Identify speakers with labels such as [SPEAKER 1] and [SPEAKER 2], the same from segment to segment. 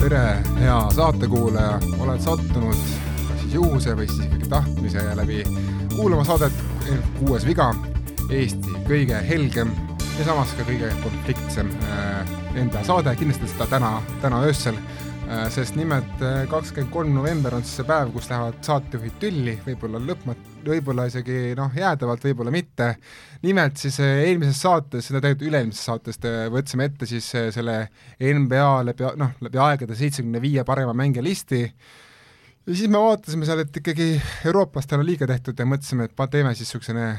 [SPEAKER 1] tere, hea saatekuulaja, oled sattunud kas siis juhuse või siis ikkagi tahtmise läbi kuulama saadet Kuues viga, Eesti kõige helgem ja samas ka kõige konfliktsem äh, enda saade, kindlasti seda täna, täna öösel äh,, sest nimelt kakskümmend kolm november on siis see päev, kus lähevad saatejuhid tülli, võib-olla lõpmat-, võib-olla isegi noh, jäädavalt, võib-olla mitte. nimelt siis äh, eelmises saates, no tegelikult üle-eelmises saates võtsime ette siis äh, selle NBA läbi, noh, läbi aegade seitsmekümne viie parema mängija listi ja siis me vaatasime seal, et ikkagi Euroopast on liiga tehtud ja mõtlesime, et teeme siis niisugune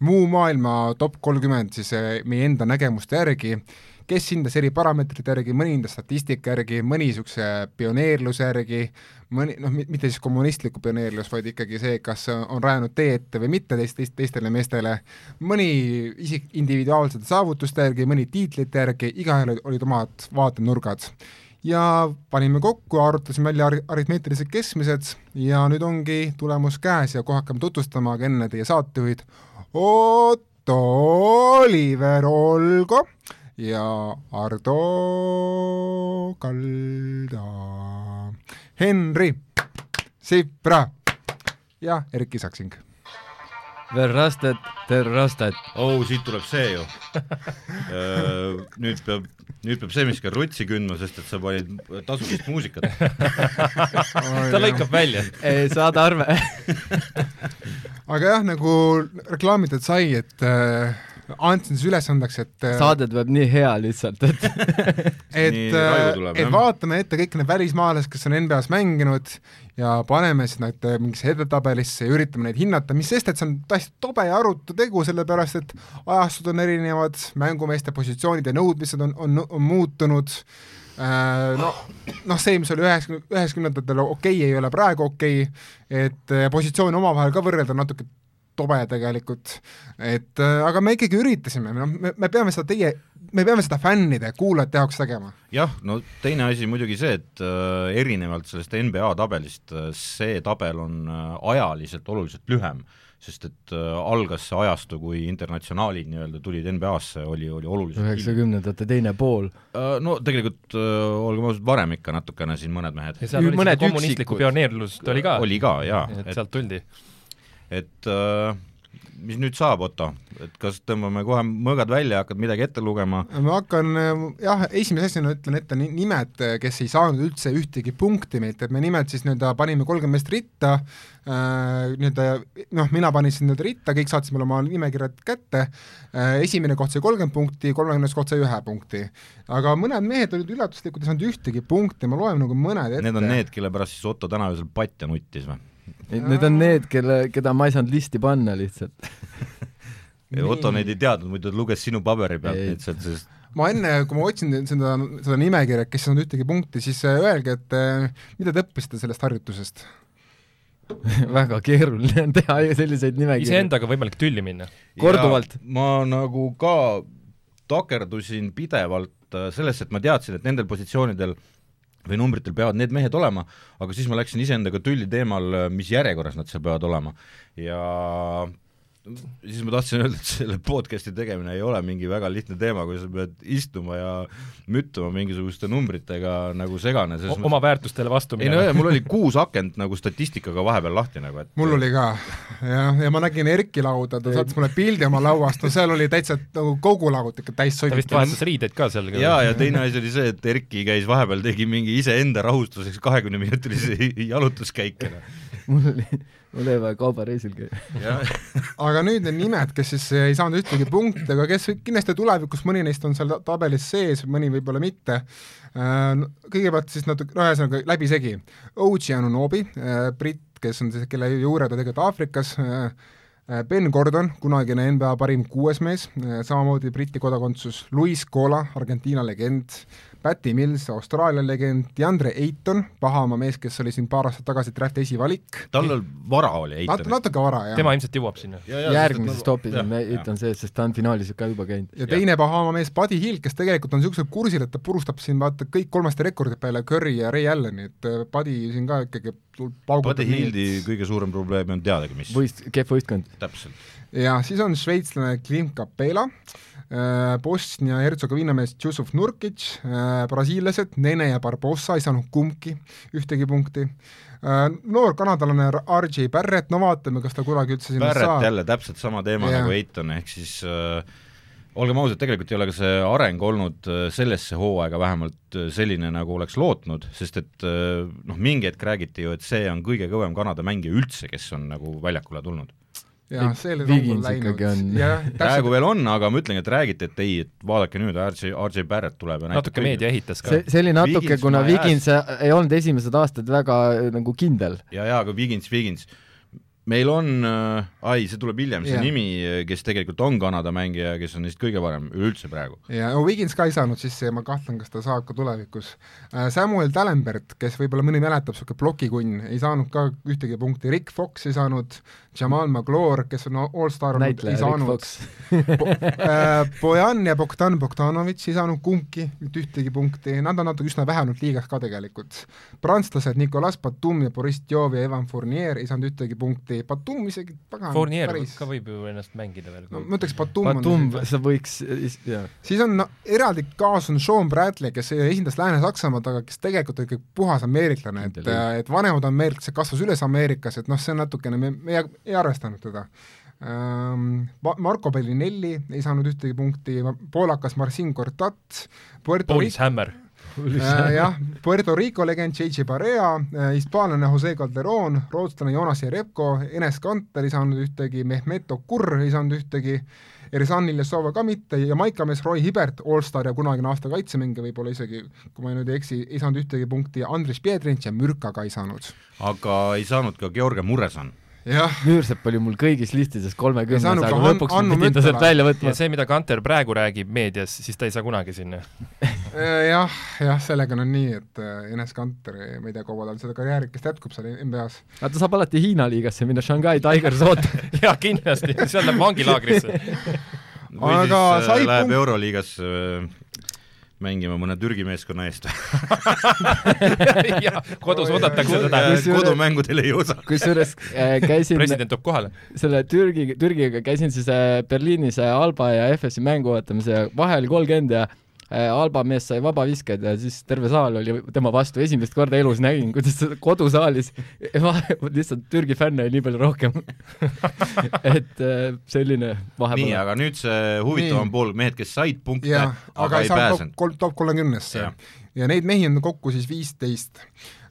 [SPEAKER 1] muu maailma top kolmkümmend siis äh, meie enda nägemuste järgi, kes hindas eri parameetrite järgi, mõni hindas statistika järgi, mõni niisuguse pioneerluse järgi, mõni noh, mitte siis kommunistliku pioneerlus, vaid ikkagi see, kas on rajanud tee ette või mitte teist, teist, teistele meestele, mõni isik individuaalsete saavutuste järgi, mõni tiitlite järgi, igaühel olid omad vaatenurgad. ja panime kokku, arutasime välja ar-, aritmeetilised keskmised ja nüüd ongi tulemus käes ja kohe hakkame tutvustama, aga enne teie saatejuhid Otto Oliver Olgo ja Ardo Kalda, Henri Sipra ja Erki Saksing.
[SPEAKER 2] Verrastet, terrastet.
[SPEAKER 3] oo oh,, siit tuleb see ju Äh, nüüd peab, nüüd peab see miski rutsi kündma, sest et sa panid tasulist muusikat
[SPEAKER 2] oh, ta lõikab välja. ei, saad arve
[SPEAKER 1] aga jah, nagu reklaamitud sai, et äh, andsin siis ülesandeks, et äh,
[SPEAKER 2] saadet peab nii hea lihtsalt, et
[SPEAKER 1] et, äh, et vaatame ette kõik need välismaalased, kes on NBA-s mänginud ja paneme siis nad äh, mingisse edetabelisse ja üritame neid hinnata, mis sest, et see on täiesti tobe ja arutu tegu, sellepärast et ajastud on erinevad, mängumeeste positsioonid ja nõudmised on, on, on muutunud noh, noh see, mis oli üheksakümne, üheksakümnendatel okei okay,, ei ole praegu okei okay., et positsioone omavahel ka võrrelda natuke tobe tegelikult, et äh, aga me ikkagi üritasime, noh, me, me peame seda teie, me peame seda fännide, kuulajate jaoks tegema.
[SPEAKER 3] jah, no teine asi muidugi see, et äh, erinevalt sellest NBA tabelist, äh, see tabel on äh, ajaliselt oluliselt lühem, sest et äh, algas see ajastu, kui internatsionaalid nii-öelda tulid NBA-sse, oli, oli oluliselt
[SPEAKER 2] üheksakümnendate teine pool
[SPEAKER 3] äh,. No tegelikult äh, olgem ausad, varem ikka natukene siin mõned mehed
[SPEAKER 4] ja seal oli mõned kommunistlikku pioneerlust oli ka?
[SPEAKER 3] oli ka, jaa.
[SPEAKER 4] et sealt tuldi
[SPEAKER 3] et äh, mis nüüd saab, Otto, et kas tõmbame kohe mõõgad välja, hakkad midagi ette lugema?
[SPEAKER 1] ma hakkan jah, esimese asjana ütlen ette nimed, kes ei saanud üldse ühtegi punkti meilt, et me nimed siis nii-öelda panime kolmkümmend meest ritta äh,, nii-öelda noh, mina panin siis nii-öelda ritta, kõik saatsid mulle oma nimekirjad kätte äh,, esimene koht sai kolmkümmend punkti, kolmekümnes koht sai ühe punkti. aga mõned mehed olid üllatuslikud, ei saanud ühtegi punkti, ma loen nagu mõned ette.
[SPEAKER 3] Need on need, kelle pärast siis Otto täna öösel patja nuttis või?
[SPEAKER 2] et need on need, kelle, keda ma ei saanud listi panna lihtsalt
[SPEAKER 3] Otto neid ei teadnud, muidu ta luges sinu paberi pealt lihtsalt, sest
[SPEAKER 1] ma enne, kui ma otsin seda, seda nimekirja, kes ei saanud ühtegi punkti, siis äh, öelge, et mida te õppisite sellest harjutusest
[SPEAKER 2] väga keeruline on teha selliseid nimekirju.
[SPEAKER 4] iseendaga võimalik tülli minna.
[SPEAKER 2] korduvalt.
[SPEAKER 3] ma nagu ka takerdusin pidevalt äh, sellesse, et ma teadsin, et nendel positsioonidel või numbritel peavad need mehed olema, aga siis ma läksin iseendaga tülli teemal, äh, mis järjekorras nad seal peavad olema ja siis ma tahtsin öelda, et selle podcast'i tegemine ei ole mingi väga lihtne teema, kui sa pead istuma ja müttuma mingisuguste numbritega nagu segane.
[SPEAKER 4] oma mõttes... väärtustele vastu
[SPEAKER 3] minema. ei no mul oli kuus akent nagu statistikaga vahepeal lahti nagu, et
[SPEAKER 1] mul oli ka jah, ja ma nägin Erki lauda, ta saatis mulle pildi oma lauast, no seal oli täitsa nagu kogu laud ikka täis
[SPEAKER 4] soitud. ta vist vahetas riideid ka seal.
[SPEAKER 3] ja, ja teine asi oli see, et Erki käis vahepeal, tegi mingi iseenda rahustuseks kahekümneminutilise jalutuskäike noh.
[SPEAKER 2] mul oli mul oli vaja kaubareisil käia.
[SPEAKER 1] aga nüüd need nimed, kes siis äh, ei saanud ühtegi punkti, aga kes kindlasti tulevikus, mõni neist on seal tabelis sees, mõni võib-olla mitte. Äh, kõigepealt siis natuke, no ühesõnaga läbisegi, Oji Anunobi, britt, kes on siis, kelle juured on tegelikult Aafrikas, äh, Ben Gordon, kunagine NBA parim kuues mees, äh, samamoodi Briti kodakondsus, Luis Cola, Argentiina legend, Patty Mills, Austraalia legend, Deandre Eiton, Bahamaa mees, kes oli siin paar aastat tagasi draft esivalik.
[SPEAKER 3] tal vara oli
[SPEAKER 1] Eitonil Nat. natuke vara, jah.
[SPEAKER 4] tema ilmselt jõuab sinna.
[SPEAKER 2] järgmises nagu... topis on Eiton sees, sest ta on finaalis ka juba käinud.
[SPEAKER 1] ja teine Bahamaa mees, Buddy Hill, kes tegelikult on niisugusel kursil, et ta purustab siin vaata kõik kolmeste rekordi peale, Curry ja Ray Allan'i, et äh, Buddy siin ka ikkagi
[SPEAKER 3] paugutab. Buddy Hildi kõige suurem probleem on teadagi, mis.
[SPEAKER 2] võist-, kehv võistkond.
[SPEAKER 3] täpselt
[SPEAKER 1] ja siis on šveitslane Klim Kapela, Bosnia-Hertsegoviina mees Jusuf Nurkic , brasiillased Nene ja Barbossa ei saanud kumbki ühtegi punkti , noor kanadalane RJ Barrett , no vaatame , kas ta kunagi üldse sinna
[SPEAKER 3] Barrett
[SPEAKER 1] saab .
[SPEAKER 3] jälle täpselt sama teema
[SPEAKER 1] Jaa.
[SPEAKER 3] yeah. nagu Eiton , ehk siis äh, olgem ausad , tegelikult ei ole ka see areng olnud äh, sellesse hooaega vähemalt äh, selline , nagu oleks lootnud , sest et äh, noh , mingi hetk räägiti ju , et see on kõige kõvem Kanada mängija üldse , kes on nagu väljakule tulnud .
[SPEAKER 1] jah , see oli
[SPEAKER 2] Wiggins
[SPEAKER 1] rongul läinud
[SPEAKER 2] ikkagi on. .
[SPEAKER 1] jah ,
[SPEAKER 3] praegu
[SPEAKER 1] täpselt ,
[SPEAKER 3] veel on , aga ma ütlengi , et räägiti , et ei , et vaadake nüüd , RJ , RJ Barrett tuleb ja näitab
[SPEAKER 4] natuke
[SPEAKER 3] kõigile.
[SPEAKER 4] meedia ehitas ka
[SPEAKER 2] see , see oli natuke ,
[SPEAKER 3] Wiggins
[SPEAKER 2] kuna
[SPEAKER 3] ma ei
[SPEAKER 2] Wiggins ei olnud esimesed aastad väga äh, nagu kindel .
[SPEAKER 3] ja , ja aga Wiggins , Wiggins , meil on äh, , ai , see tuleb hiljem , see
[SPEAKER 1] Jah.
[SPEAKER 3] yeah. nimi , kes tegelikult on Kanada mängija , kes on neist kõige parem üleüldse praegu .
[SPEAKER 1] ja no Wiggins ka ei saanud sisse ja ma kahtlen , kas ta saab ka tulevikus . Samuel Talenberg , kes võib-olla mõni mäletab , niisugune plokikunn , ei saanud ka ühtegi punkti , Rick Fox ei saanud , Jamal McClure , kes on allstar olnud , ei
[SPEAKER 2] näitleja Rick
[SPEAKER 1] saanud ,
[SPEAKER 2] Fox .
[SPEAKER 1] Bojan ja Bogdan Bogdanovitš ei saanud kumbki mitte ühtegi punkti , nad on natuke üsna vähenud liigas ka tegelikult . prantslased Nicolas Batum ja Boris Diov ja Evan Fournier ei saanud ühtegi punkti , Batum isegi pagan ,
[SPEAKER 4] Fournier
[SPEAKER 1] päris
[SPEAKER 4] ka võib ju ennast mängida veel
[SPEAKER 1] no ma ütleks , Batum,
[SPEAKER 2] Batum
[SPEAKER 1] on ,
[SPEAKER 2] sa võiks , jah .
[SPEAKER 1] siis on no, eraldi kaas on Sean Bradley , kes esindas Lääne-Saksamaad , aga kes tegelikult on ikka puhas ameeriklane , et
[SPEAKER 2] Kindel, ,
[SPEAKER 1] et vanemad ameeriklased kasvas üles Ameerikas , et noh , see on natukene , me , me ei, ei arvestanud teda . Marko Bellinelli ei saanud ühtegi punkti , poolakas Marcin Gortat , Puerto
[SPEAKER 4] Paulis
[SPEAKER 1] Rico ,
[SPEAKER 4] Hammer ,
[SPEAKER 1] Äh, jah , Puerto Rico legend J.J. Barea , hispaanlane Jose Calderon , rootslane Jonas Jerebko , Enes Kanter ei saanud ühtegi , Mehmet Okur ei saanud ühtegi , Ersan Iljasova ka mitte ja maikamees Roy Hibbert , allstar ja kunagine aasta kaitsemängija võib-olla isegi , kui ma nüüd ei eksi , ei saanud ühtegi punkti ja Andres Piedrintš ja Mürka ka ei saanud .
[SPEAKER 3] aga ei saanud ka Georgia Muresan .
[SPEAKER 1] jah ,
[SPEAKER 2] Müürsepp oli mul kõigis listides kolmekümnes ,
[SPEAKER 1] saanud
[SPEAKER 2] aga
[SPEAKER 1] ka Han-
[SPEAKER 2] lõpuks ma
[SPEAKER 1] Hannu
[SPEAKER 2] pidin ta sealt
[SPEAKER 1] Müntala.
[SPEAKER 2] välja võtma
[SPEAKER 4] ja . see , mida Kanter praegu räägib meedias , siis ta ei saa kunagi sinna .
[SPEAKER 1] Äh, jah , jah , sellega on nii , et äh, Enes Kanter , ma ei tea , kaua tal seda karjäärikest jätkub seal NBA-s .
[SPEAKER 2] aga ta saab alati Hiina liigasse minna , Shanghai Tigers ootab .
[SPEAKER 4] jaa , kindlasti , seal läheb vangilaagris .
[SPEAKER 3] või
[SPEAKER 1] Aga
[SPEAKER 3] siis äh,
[SPEAKER 1] sai
[SPEAKER 3] läheb
[SPEAKER 1] punkt-
[SPEAKER 3] punkt... Euroliigas äh, mängima mõne Türgi meeskonna eest .
[SPEAKER 4] ja kodus oodatakse teda ,
[SPEAKER 2] Kusjuures-
[SPEAKER 3] kodumängudel ei osa .
[SPEAKER 2] kusjuures äh, käisin
[SPEAKER 4] president tuleb kohale .
[SPEAKER 2] selle Türgi , Türgiga käisin siis äh, Berliinis äh, Alba ja FS-i mängu vaatamas ja vahel kolmkümmend ja äh, Alba mees sai vabavisked ja siis terve saal oli tema vastu , esimest korda elus nägin , kuidas kodusaalis lihtsalt Türgi fänne oli nii palju rohkem . et äh, selline
[SPEAKER 3] nii ,
[SPEAKER 2] vahepeal .
[SPEAKER 3] aga nüüd see huvitavam
[SPEAKER 1] Nii.
[SPEAKER 3] pool , mehed , kes said punkte ,
[SPEAKER 1] jah ,
[SPEAKER 3] aga,
[SPEAKER 1] aga ei saa top
[SPEAKER 3] pääsenud .
[SPEAKER 1] kolm , top kolmekümnesse
[SPEAKER 3] Jah. .
[SPEAKER 1] ja neid mehi on kokku siis viisteist .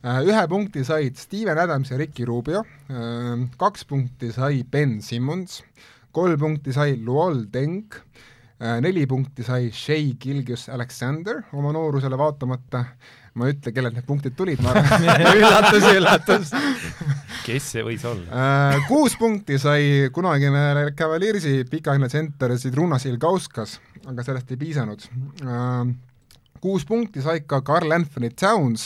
[SPEAKER 1] ühe punkti said Steven Adams ja Ricky Rubio , kaks punkti sai Ben Simmons , kolm punkti sai Luol Deng , neli punkti sai Shea Gilgius Alexander oma noorusele vaatamata , ma ei ütle , kellelt need punktid tulid , ma arvan ,
[SPEAKER 2] üllatus , üllatus .
[SPEAKER 4] kes see võis olla ?
[SPEAKER 1] Äh, kuus punkti sai kunagine Cavaliersi pikaajaline tsenter Sidruna Silgauskas , aga sellest ei piisanud . kuus punkti sai ka Carl Anthony Towns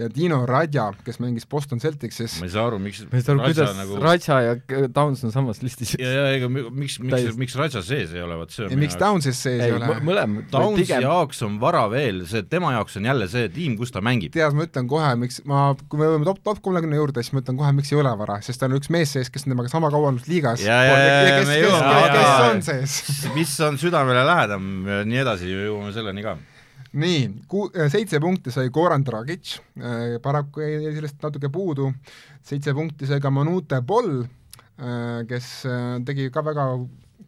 [SPEAKER 1] ja Dino Radja , kes mängis Boston Celticsis
[SPEAKER 3] ma . ei saa aru , miks
[SPEAKER 2] ma ei saa aru , kuidas nagu...
[SPEAKER 3] nagu...
[SPEAKER 2] Raja ja K- Downs on samas listis .
[SPEAKER 3] ja , ja ega mi- miks , miks
[SPEAKER 2] Täis- ,
[SPEAKER 3] miks Raja sees ei ole , vot see on
[SPEAKER 1] ja miks Townsis sees ei
[SPEAKER 2] ei ,
[SPEAKER 1] ole ?
[SPEAKER 2] mõlemad .
[SPEAKER 3] Townsi pigem... jaoks on vara veel , see tema jaoks on jälle see tiim , kus ta mängib .
[SPEAKER 1] tead , ma ütlen kohe , miks ma , kui me jõuame top , top kolmekümne juurde , siis ma ütlen kohe , miks ei ole vara , sest tal on üks mees sees , kes on temaga sama kaua olnud liigas .
[SPEAKER 3] Ja, ja, ja, ja,
[SPEAKER 1] kes ,
[SPEAKER 3] me
[SPEAKER 1] kes ,
[SPEAKER 3] jõuame-
[SPEAKER 1] kes, kes
[SPEAKER 3] jaa,
[SPEAKER 1] on
[SPEAKER 3] jaa.
[SPEAKER 1] sees ?
[SPEAKER 3] mis on südamele lähedam ja nii edasi , jõuame selleni ka .
[SPEAKER 1] nii , ku- , seitse punkti sai Goran Dragic , paraku jäi jäi sellest natuke puudu , seitse punkti sai ka Manute Boll , kes äh, tegi ka väga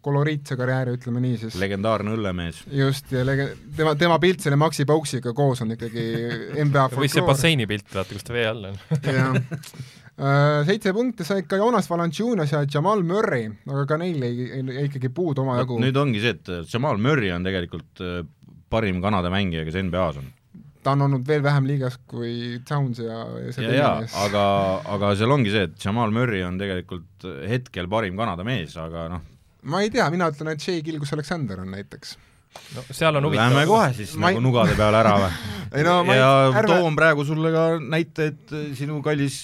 [SPEAKER 1] koloriitse karjääri , ütleme nii siis .
[SPEAKER 3] legendaarne õllemees .
[SPEAKER 1] just , ja lege- , tema , tema pilt selle Maxi Pauksiga koos on ikkagi NBA
[SPEAKER 4] või see
[SPEAKER 1] Äh, folkloor .
[SPEAKER 4] basseini pilt , vaata , kus ta vee all on .
[SPEAKER 1] jah . Seitse punkti said ka Jonas Valanciunas ja Jamal Murray , aga ka neil jäi , jäi ikkagi puudu omajagu .
[SPEAKER 3] nüüd ongi see , et Jamal Murray on tegelikult äh, parim Kanada mängija , kes NBA-s on .
[SPEAKER 1] ta on olnud veel vähem liigas kui Towns ja, ja see
[SPEAKER 3] ja , ja , aga , aga seal ongi see , et Jamal Murray on tegelikult äh, hetkel parim Kanada mees , aga noh ,
[SPEAKER 1] ma ei tea , mina ütlen , et Shea Gilgus Alexander on näiteks .
[SPEAKER 4] no seal on huvitav .
[SPEAKER 3] lähme kohe siis
[SPEAKER 1] Ma
[SPEAKER 3] ma...
[SPEAKER 1] ei-
[SPEAKER 3] nagu nugade peale ära või ?
[SPEAKER 1] ei no ma
[SPEAKER 3] ja
[SPEAKER 1] ei ,
[SPEAKER 3] ärme...
[SPEAKER 1] ärme ,
[SPEAKER 3] äh, toon praegu sulle ka näiteid , sinu kallis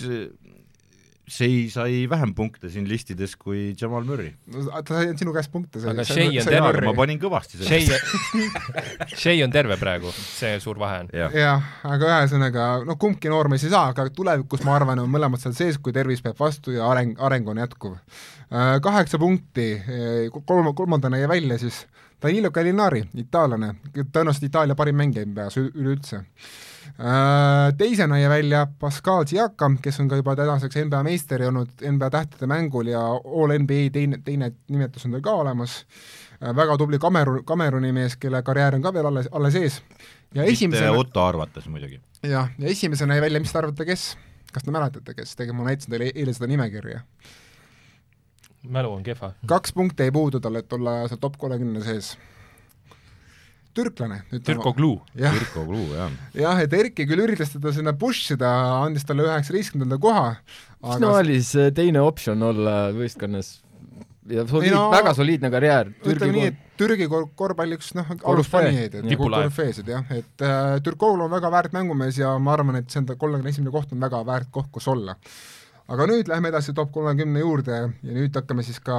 [SPEAKER 3] Shea äh, sai vähem punkte siin listides kui Jamal Murry .
[SPEAKER 1] ta sai ainult sinu käest punkte .
[SPEAKER 4] Aga Shea on terve,
[SPEAKER 3] ma panin kõvasti selle .
[SPEAKER 4] Shea , Shea on terve praegu , see suur vahe on .
[SPEAKER 3] jah ,
[SPEAKER 1] jah , aga ühesõnaga noh , kumbki noormees ei saa , aga tulevikus ma arvan , on mõlemad seal sees , kui tervis peab vastu ja areng , areng on jätkuv . kaheksa punkti , kolm , kolmandana jäi välja siis Danilo Gallinari , itaallane , tõenäoliselt Itaalia parim mängija peas ü- üleüldse . Teisena jäi välja Pascal Siakam , kes on ka juba tänaseks NBA meister ja olnud NBA tähtede mängul ja all NBA teine , teine nimetus on tal ka olemas , väga tubli Kamerun , Kameruni mees , kelle karjäär on ka veel alles , alles ees . ja
[SPEAKER 3] mitte
[SPEAKER 1] esimesena
[SPEAKER 3] Otto arvates muidugi .
[SPEAKER 1] jah , ja esimesena jäi välja , mis te arvate , kes ? kas te mäletate , kes ? tegelikult ma näitasin teile eile seda nimekirja .
[SPEAKER 4] mälu on kehva .
[SPEAKER 1] kaks punkti jäi puudu talle , et olla seal top kolmekümne sees . türklane ,
[SPEAKER 4] Türko
[SPEAKER 1] ütleme .
[SPEAKER 4] Glu .
[SPEAKER 1] jah ,
[SPEAKER 3] Mirko Klu , jah .
[SPEAKER 1] jah , et Erki küll üritas teda sinna push ida , andis talle üheksateistkümnenda koha ,
[SPEAKER 2] mis
[SPEAKER 1] aga
[SPEAKER 2] no oli siis äh, teine optsioon olla võistkonnas ja soliid,
[SPEAKER 1] Ei no-
[SPEAKER 2] väga soliidne karjäär .
[SPEAKER 1] ütleme nii , et Türgi kor- , korvpalli üks noh , aus
[SPEAKER 2] Korüfee.
[SPEAKER 1] fanijaid , et nagu
[SPEAKER 4] Tipulaev.
[SPEAKER 1] korüfeesid jah , et äh, Türkoglu on väga väärt mängumees ja ma arvan , et see on ta kolmekümne esimene koht on väga väärt koht , kus olla . aga nüüd lähme edasi top kolmekümne juurde ja nüüd hakkame siis ka ,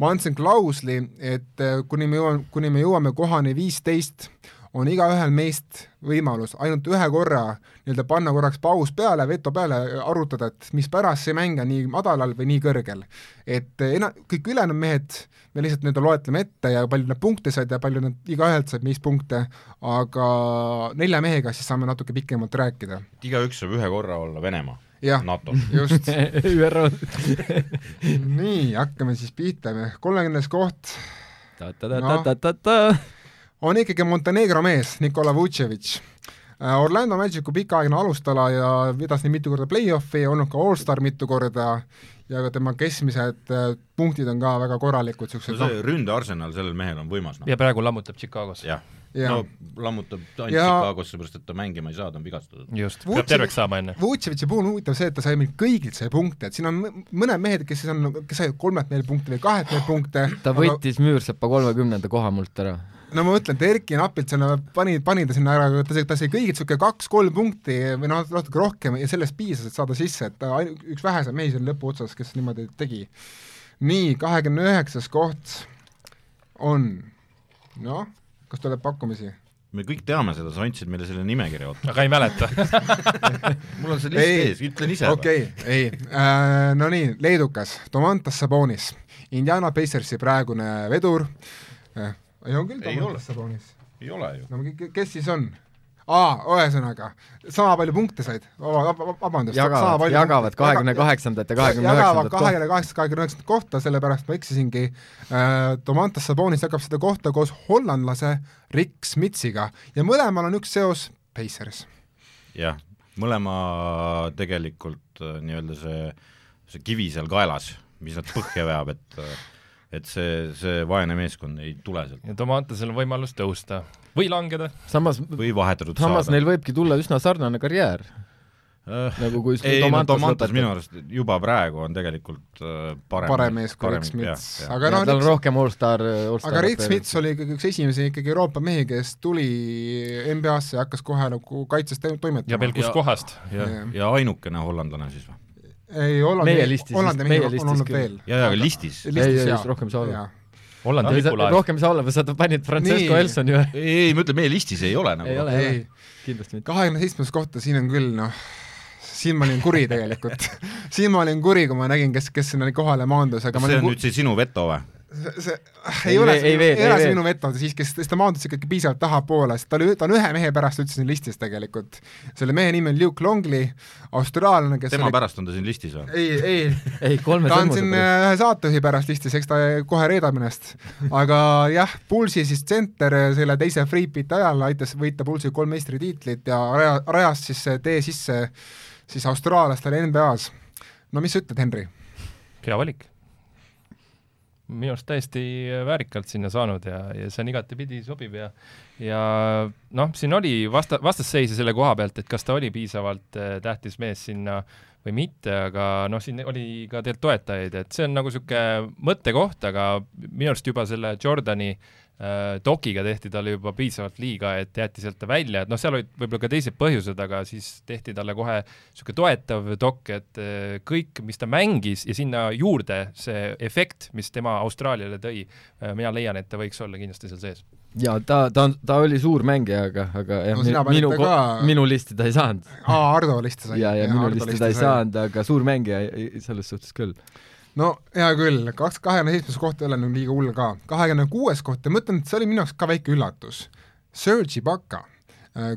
[SPEAKER 1] ma andsin klausli , et äh, kuni me jõuame , kuni me jõuame kohani viisteist , on igaühel meist võimalus ainult ühe korra nii-öelda panna korraks paus peale , veto peale , arutada , et mispärast see mäng on nii madalal või nii kõrgel . et äh, ena- , kõik ülejäänud mehed , me lihtsalt nii-öelda loetleme ette ja palju nad punkte said ja palju nad , igaühelt said meist punkte , aga nelja mehega siis saame natuke pikemalt rääkida .
[SPEAKER 3] igaüks saab ühe korra olla Venemaa ,
[SPEAKER 1] jah ,
[SPEAKER 3] NATO .
[SPEAKER 1] just .
[SPEAKER 2] ÜRO .
[SPEAKER 1] nii , hakkame siis pihta , kolmekümnes koht
[SPEAKER 2] ta-ta-ta-ta-ta-ta .
[SPEAKER 1] on ikkagi Montenegro mees Nikola Vucevic . Orlando Magicu pikaaegne alustala ja vedas nii mitu korda play-off'i ja olnud ka allstar mitu korda ja ka tema keskmised äh, punktid on ka väga korralikud ,
[SPEAKER 3] no
[SPEAKER 1] niisugused noh
[SPEAKER 3] see , ründearsenal sellel mehel on võimas , noh .
[SPEAKER 4] ja praegu lammutab Chicagos .
[SPEAKER 3] jah ,
[SPEAKER 1] ja
[SPEAKER 3] no lammutab ta ainult
[SPEAKER 1] Ja-
[SPEAKER 3] Chicagosse , seepärast et ta mängima ei saa , ta on vigastatud .
[SPEAKER 4] just ,
[SPEAKER 1] Vucevic-
[SPEAKER 4] peab terveks saama enne .
[SPEAKER 1] Vutševitši puhul on huvitav see , et ta sai meil kõigilt sai punkte , et siin on mõ- mõned mehed , kes siis on , kes sai kolmelt neil punkti või kahelt neil punkte ,
[SPEAKER 2] ta võttis Müürsepa kolmekümnenda koha mult ära .
[SPEAKER 1] no ma mõtlen , et Erki napilt sinna pani , pani ta sinna ära , ta sai , ta sai kõigilt niisugune kaks-kolm punkti või noh , natuke rohkem ja sellest piisas , et saada sisse , et ta ainu- üks väheseid mehi seal lõpuotsas , kes niimoodi tegi . nii , kahekümne üheksas koht on , noh , kas tuleb pakkumisi ?
[SPEAKER 3] me kõik teame seda , sa andsid meile selle nimekirja , oota .
[SPEAKER 4] aga ei mäleta .
[SPEAKER 3] mul on see
[SPEAKER 1] Ei.
[SPEAKER 3] list ees , ütlen ise .
[SPEAKER 1] okei , ei äh, , no nii , leedukas , Domantas Sabonis , Indiana Pacersi praegune vedur äh, , ei on küll
[SPEAKER 3] Ei ole.
[SPEAKER 1] Domantas Sabonis ,
[SPEAKER 3] ei ole ju .
[SPEAKER 1] no ke- ke- kes siis on ? aa , ühesõnaga , sama palju punkte said , vabandust , sama
[SPEAKER 2] jagavad ,
[SPEAKER 1] palju
[SPEAKER 2] jagavad kahekümne kaheksandat ja kahekümne
[SPEAKER 1] jagavad
[SPEAKER 2] üheksandat kohta .
[SPEAKER 1] kahekümne kaheksast , kahekümne üheksandat kohta , sellepärast ma eksisingi äh, . Domantas Sabonis jagab seda kohta koos hollandlase Rick Smitsiga ja mõlemal on üks seos Pacers .
[SPEAKER 3] jah , mõlema tegelikult äh, nii-öelda see , see kivi seal kaelas , mis nad põhja veab , et äh, et see , see vaene meeskond ei tule sealt
[SPEAKER 4] ja Tomatasel on võimalus tõusta või langeda .
[SPEAKER 2] samas ,
[SPEAKER 3] või vahetatud
[SPEAKER 2] samas
[SPEAKER 3] saada .
[SPEAKER 2] neil võibki tulla üsna sarnane karjäär ,
[SPEAKER 3] Äh,
[SPEAKER 2] nagu kui
[SPEAKER 3] ei , no
[SPEAKER 2] Domantas
[SPEAKER 3] Domantas
[SPEAKER 2] lõpetab.
[SPEAKER 3] minu arust juba praegu on tegelikult äh, parem
[SPEAKER 1] parem mees kui Rick Smits ,
[SPEAKER 3] aga
[SPEAKER 1] aga
[SPEAKER 2] ja
[SPEAKER 1] noh ,
[SPEAKER 2] tal on
[SPEAKER 1] Rick
[SPEAKER 2] rohkem allstar , allstar .
[SPEAKER 1] aga Reet Smits oli ikkagi üks esimesi ikkagi Euroopa mehi , kes tuli NBA-sse ja hakkas kohe nagu kaitses te-
[SPEAKER 4] ja
[SPEAKER 1] toimetama
[SPEAKER 4] veel . kuskohast .
[SPEAKER 1] jah.
[SPEAKER 3] ja ainukene hollandlane siis või ?
[SPEAKER 1] ei , Hollandi
[SPEAKER 2] Meie , listis
[SPEAKER 1] Hollandi
[SPEAKER 2] vist-
[SPEAKER 1] mehi
[SPEAKER 2] meie
[SPEAKER 1] on-
[SPEAKER 2] listis
[SPEAKER 1] on olnud
[SPEAKER 2] küll.
[SPEAKER 1] veel .
[SPEAKER 3] jaa , aga listis .
[SPEAKER 2] Ei, ei, just rohkem ei saa olla. .
[SPEAKER 4] Hollandi lipulaev .
[SPEAKER 2] rohkem ei saa olla , sa panid Francesco
[SPEAKER 1] Nii.
[SPEAKER 2] Elsoni või ?
[SPEAKER 3] ei , ei , ma ütlen , meie listis ei ole
[SPEAKER 2] ei
[SPEAKER 3] nagu .
[SPEAKER 2] ole , ei
[SPEAKER 1] Ei.
[SPEAKER 2] ole , kindlasti mitte .
[SPEAKER 1] kahekümne seitsmes kohta , siin on küll noh , siin ma olin kuri tegelikult . siin ma olin kuri , kui ma nägin , kes , kes sinna kohale maandus , aga
[SPEAKER 3] kas
[SPEAKER 1] ma nagu-
[SPEAKER 3] see
[SPEAKER 1] olin
[SPEAKER 3] on
[SPEAKER 1] ku-
[SPEAKER 3] nüüd see sinu veto või ?
[SPEAKER 1] see, see
[SPEAKER 2] Ei
[SPEAKER 1] ei ole ,
[SPEAKER 2] vee- ei
[SPEAKER 1] ei
[SPEAKER 2] veed- ei
[SPEAKER 1] ole see
[SPEAKER 2] veed.
[SPEAKER 1] minu veto siiski , sest sest ta maandus ikkagi piisavalt tahapoole , sest ta oli , ta on ühe mehe pärast üldse siin listis tegelikult . selle mehe nimi on Luke Longley , austraallane , kes
[SPEAKER 3] tema
[SPEAKER 1] oli...
[SPEAKER 3] pärast on ta siin listis või ?
[SPEAKER 1] ei , ei ,
[SPEAKER 2] ei , kolme
[SPEAKER 1] ta on
[SPEAKER 2] sammuse
[SPEAKER 1] siin
[SPEAKER 2] pärast .
[SPEAKER 1] ühe saatejuhi pärast listis , eks ta äh, kohe reedab ennast . aga jah , Pulsi siis tsenter äh, selle teise Free Beat'i ajal aitas võita Pulsi kolm meistritiitlit ja raja , rajas siis see tee sisse siis austraallastele NBA-s . no mis sa ütled , Henri ?
[SPEAKER 4] hea valik . minu arust täiesti väärikalt sinna saanud ja , ja see on igatepidi sobiv ja , ja noh , siin oli vasta , vastasseise selle koha pealt , et kas ta oli piisavalt äh, tähtis mees sinna või mitte , aga noh , siin oli ka tegelikult toetajaid , et see on nagu niisugune mõttekoht , aga minu arust juba selle Jordani Dokiga tehti talle juba piisavalt liiga , et jäeti sealt ta välja , et noh , seal olid võib-olla ka teised põhjused , aga siis tehti talle kohe niisugune toetav dok , et äh, kõik , mis ta mängis ja sinna juurde see efekt , mis tema Austraaliale tõi , mina leian , et ta võiks olla kindlasti seal sees .
[SPEAKER 2] ja ta , ta on , ta oli suur mängija , aga , aga jah
[SPEAKER 1] No sina
[SPEAKER 2] mi- minu
[SPEAKER 1] panid ta , ka-
[SPEAKER 2] minu listi ta ei saanud
[SPEAKER 1] aa , Ardo liste sai .
[SPEAKER 2] ja , ja minu listi ta ei saanud , aga suur mängija ei- selles suhtes küll .
[SPEAKER 1] no hea küll , kaks , kahekümne seitsmes koht ei ole nüüd liiga hull ka . kahekümne kuues koht ja ma ütlen , et see oli minu jaoks ka väike üllatus . Serge Ibaka ,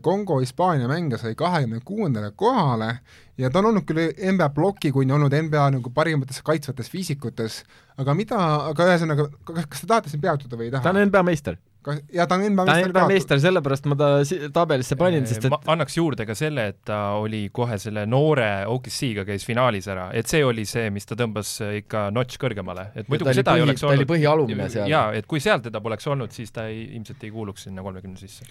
[SPEAKER 1] Kongo-Hispaania mängija sai kahekümne kuuendale kohale ja ta on olnud küll NBA plokikuni olnud NBA nagu parimates kaitsvates viisikutes , aga mida , aga ühesõnaga , kas , kas te tahate siin peatuda või ei
[SPEAKER 2] ta
[SPEAKER 1] taha
[SPEAKER 2] on ? NBA meister ,
[SPEAKER 1] kas , ja ta on NBA
[SPEAKER 2] ta on
[SPEAKER 1] meister
[SPEAKER 2] NBA
[SPEAKER 1] ka .
[SPEAKER 2] meister , sellepärast ma ta si- tabelisse panin , sest
[SPEAKER 4] Äh, ma
[SPEAKER 2] et
[SPEAKER 4] annaks juurde ka selle , et ta oli kohe selle noore OKC-ga käis finaalis ära , et see oli see , mis ta tõmbas äh, ikka notš kõrgemale , et muidu
[SPEAKER 2] ta
[SPEAKER 4] kui
[SPEAKER 2] oli
[SPEAKER 4] seda
[SPEAKER 2] põhi-
[SPEAKER 4] ei oleks
[SPEAKER 2] ta oli
[SPEAKER 4] olnud .
[SPEAKER 2] põhialumine seal.
[SPEAKER 4] jaa , et kui seal teda poleks olnud , siis ta ei , ilmselt ei kuuluks sinna kolmekümne sisse .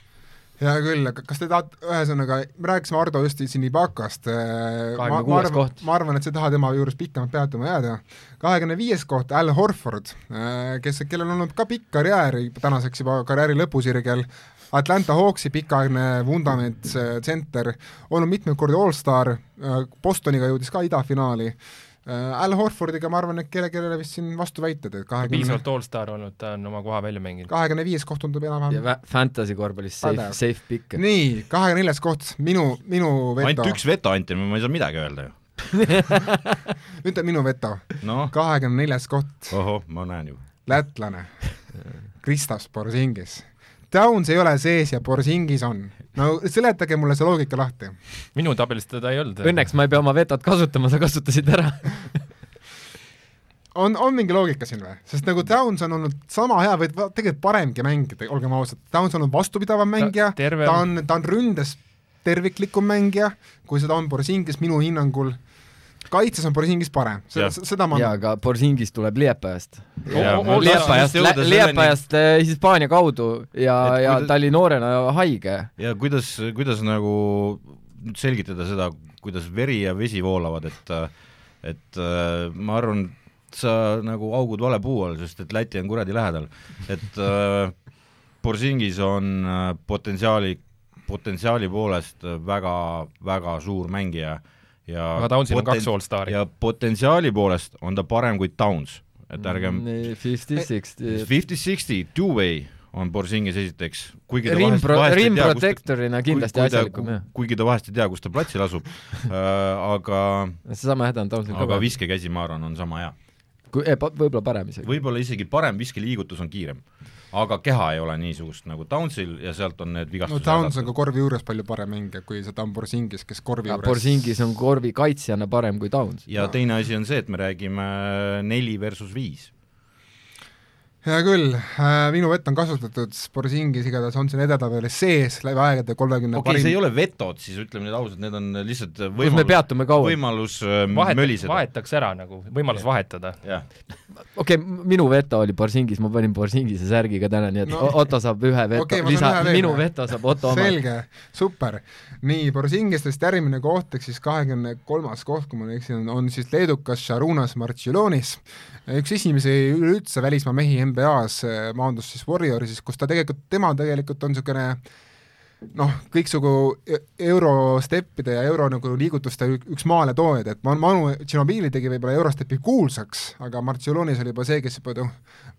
[SPEAKER 1] hea küll , aga kas te tahate , ühesõnaga , me rääkisime Ardo just siin Ibakast . ma, ma,
[SPEAKER 2] 26.
[SPEAKER 1] arvan,
[SPEAKER 2] koht.
[SPEAKER 1] ma arvan , et sa ei taha tema juures pikemalt peatuma jääda . kahekümne viies koht , Al Horford , kes , kellel on olnud ka pikk karjäär , tänaseks juba karjääri lõpusirgel , Atlanta Hawksi pikaaegne vundament , tsenter , olnud mitmeid kordi allstar , Bostoniga jõudis ka idafinaali . Al Horfordiga ma arvan , et kellelegi ei ole vist siin vastuväited , et kahekümne ,
[SPEAKER 4] piisavalt allstar olnud , ta on oma koha välja mänginud .
[SPEAKER 1] kahekümne viies koht tundub
[SPEAKER 2] ja
[SPEAKER 1] enam-vähem .
[SPEAKER 2] vä- fantasy korvpallis safe
[SPEAKER 1] Pädev. ,
[SPEAKER 2] safe pick .
[SPEAKER 1] nii , kahekümne neljas koht , minu , minu veto .
[SPEAKER 3] ainult üks veto anti , ma ei saa midagi öelda ju .
[SPEAKER 1] ütle minu veto ,
[SPEAKER 3] noh ,
[SPEAKER 1] kahekümne neljas koht ,
[SPEAKER 3] ohoh , ma näen ju .
[SPEAKER 1] lätlane , Kristaps Borisingis . Downs ei ole sees ja Borisingis on . no seletage mulle see loogika lahti .
[SPEAKER 4] minu tabelis teda ei olnud .
[SPEAKER 2] Õnneks ma ei pea oma vetot kasutama , sa kasutasid ära .
[SPEAKER 1] on , on mingi loogika siin või ? sest nagu Downs on olnud sama hea või va- tegelikult paremgi mängija , olgem ausad , Downs on olnud vastupidavam mängija ,
[SPEAKER 4] tervem.
[SPEAKER 1] ta on , ta on ründes terviklikum mängija , kui seda on Borisingis minu hinnangul . kaitses on Borisingis parem ,
[SPEAKER 3] Jah.
[SPEAKER 1] seda ma
[SPEAKER 2] jaa , aga Borzingis tuleb Liepajast .
[SPEAKER 3] Jaa, ma tahtsin
[SPEAKER 2] Liepajast
[SPEAKER 3] just jõuda , selleni-
[SPEAKER 2] Liepajast eh, Hispaania kaudu ja ,
[SPEAKER 3] Et
[SPEAKER 2] ja
[SPEAKER 3] kuidas-
[SPEAKER 2] ta oli noorena haige
[SPEAKER 3] ja kuidas , kuidas nagu nüüd selgitada seda , kuidas veri ja vesi voolavad , et et äh, ma arvan , sa nagu augud vale puu all , sest et Läti on kuradi lähedal , et äh, Borisingis on äh, potentsiaali , potentsiaali poolest väga , väga suur mängija ja
[SPEAKER 4] aga Downsil on kaks allstari .
[SPEAKER 3] ja potentsiaali poolest on ta parem kui Downs , et ärgem
[SPEAKER 2] Nii, Fifty Sixty .
[SPEAKER 3] Fifty-sixty two-way on Borisingis esiteks , kuigi ta vahest ,
[SPEAKER 2] rimpro- ,
[SPEAKER 3] vahest ei tea , kus ta
[SPEAKER 2] rimprotektorina kindlasti
[SPEAKER 3] kui- kui ta-
[SPEAKER 2] asjalikum jah .
[SPEAKER 3] kuigi ta vahest ei tea , kus ta platsil asub äh, , aga ,
[SPEAKER 2] seesama häda on Downsil ka
[SPEAKER 3] aga . viskekäsi , ma arvan , on sama hea .
[SPEAKER 2] eh, võib-olla parem isegi .
[SPEAKER 3] võib-olla isegi parem viskeliigutus on kiirem , aga keha ei ole niisugust nagu Downsil ja sealt on need
[SPEAKER 1] no
[SPEAKER 3] vigastused
[SPEAKER 1] Downs on ka korvi juures palju parem mängija , kui seda on Borisingis , kes korvi
[SPEAKER 2] aga
[SPEAKER 1] juures
[SPEAKER 2] Borzingis on korvi kaitsjana parem kui Downs .
[SPEAKER 3] ja teine asi on see , et me räägime neli versus viis .
[SPEAKER 1] hea küll , minu vett on kasutatud , Borisingis igatahes on siin edetabelis sees läbi aegade kolmekümne
[SPEAKER 3] okei okay, , see ei ole vetod siis , ütleme nüüd ausalt , need on lihtsalt
[SPEAKER 2] kus me
[SPEAKER 3] võimalus ,
[SPEAKER 2] peatume kaua ?
[SPEAKER 3] võimalus äh,
[SPEAKER 4] vahet ,
[SPEAKER 3] möliseda .
[SPEAKER 4] vahetaks ära nagu , võimalus vahetada .
[SPEAKER 3] jah ,
[SPEAKER 2] okei okay, , minu veto oli Borzingis , ma panin Borzingise särgiga täna , nii et
[SPEAKER 1] No.
[SPEAKER 2] no. Otto saab ühe veto
[SPEAKER 1] Okei,
[SPEAKER 2] okay,
[SPEAKER 1] ma saan ,
[SPEAKER 2] lisa
[SPEAKER 1] ühe , veel.
[SPEAKER 2] minu veto saab Otto oma .
[SPEAKER 1] selge , super . nii , Borisingistest järgmine koht ehk siis kahekümne kolmas koht , kui ma ei eksi , on, on siis leedukas Sharunas Martšilonis . üks esimesi üleüldse välismaa mehi NBA-s eh, maandus siis Warriorsis , kus ta tegelikult , tema tegelikult on niisugune noh , kõiksugu e- eurosteppide ja euro nagu liigutuste ük- üks maaletoojaid , et Man- Manu Ginobili tegi võib-olla eurostepi kuulsaks , aga Martšilonis oli juba see , kes juba noh ,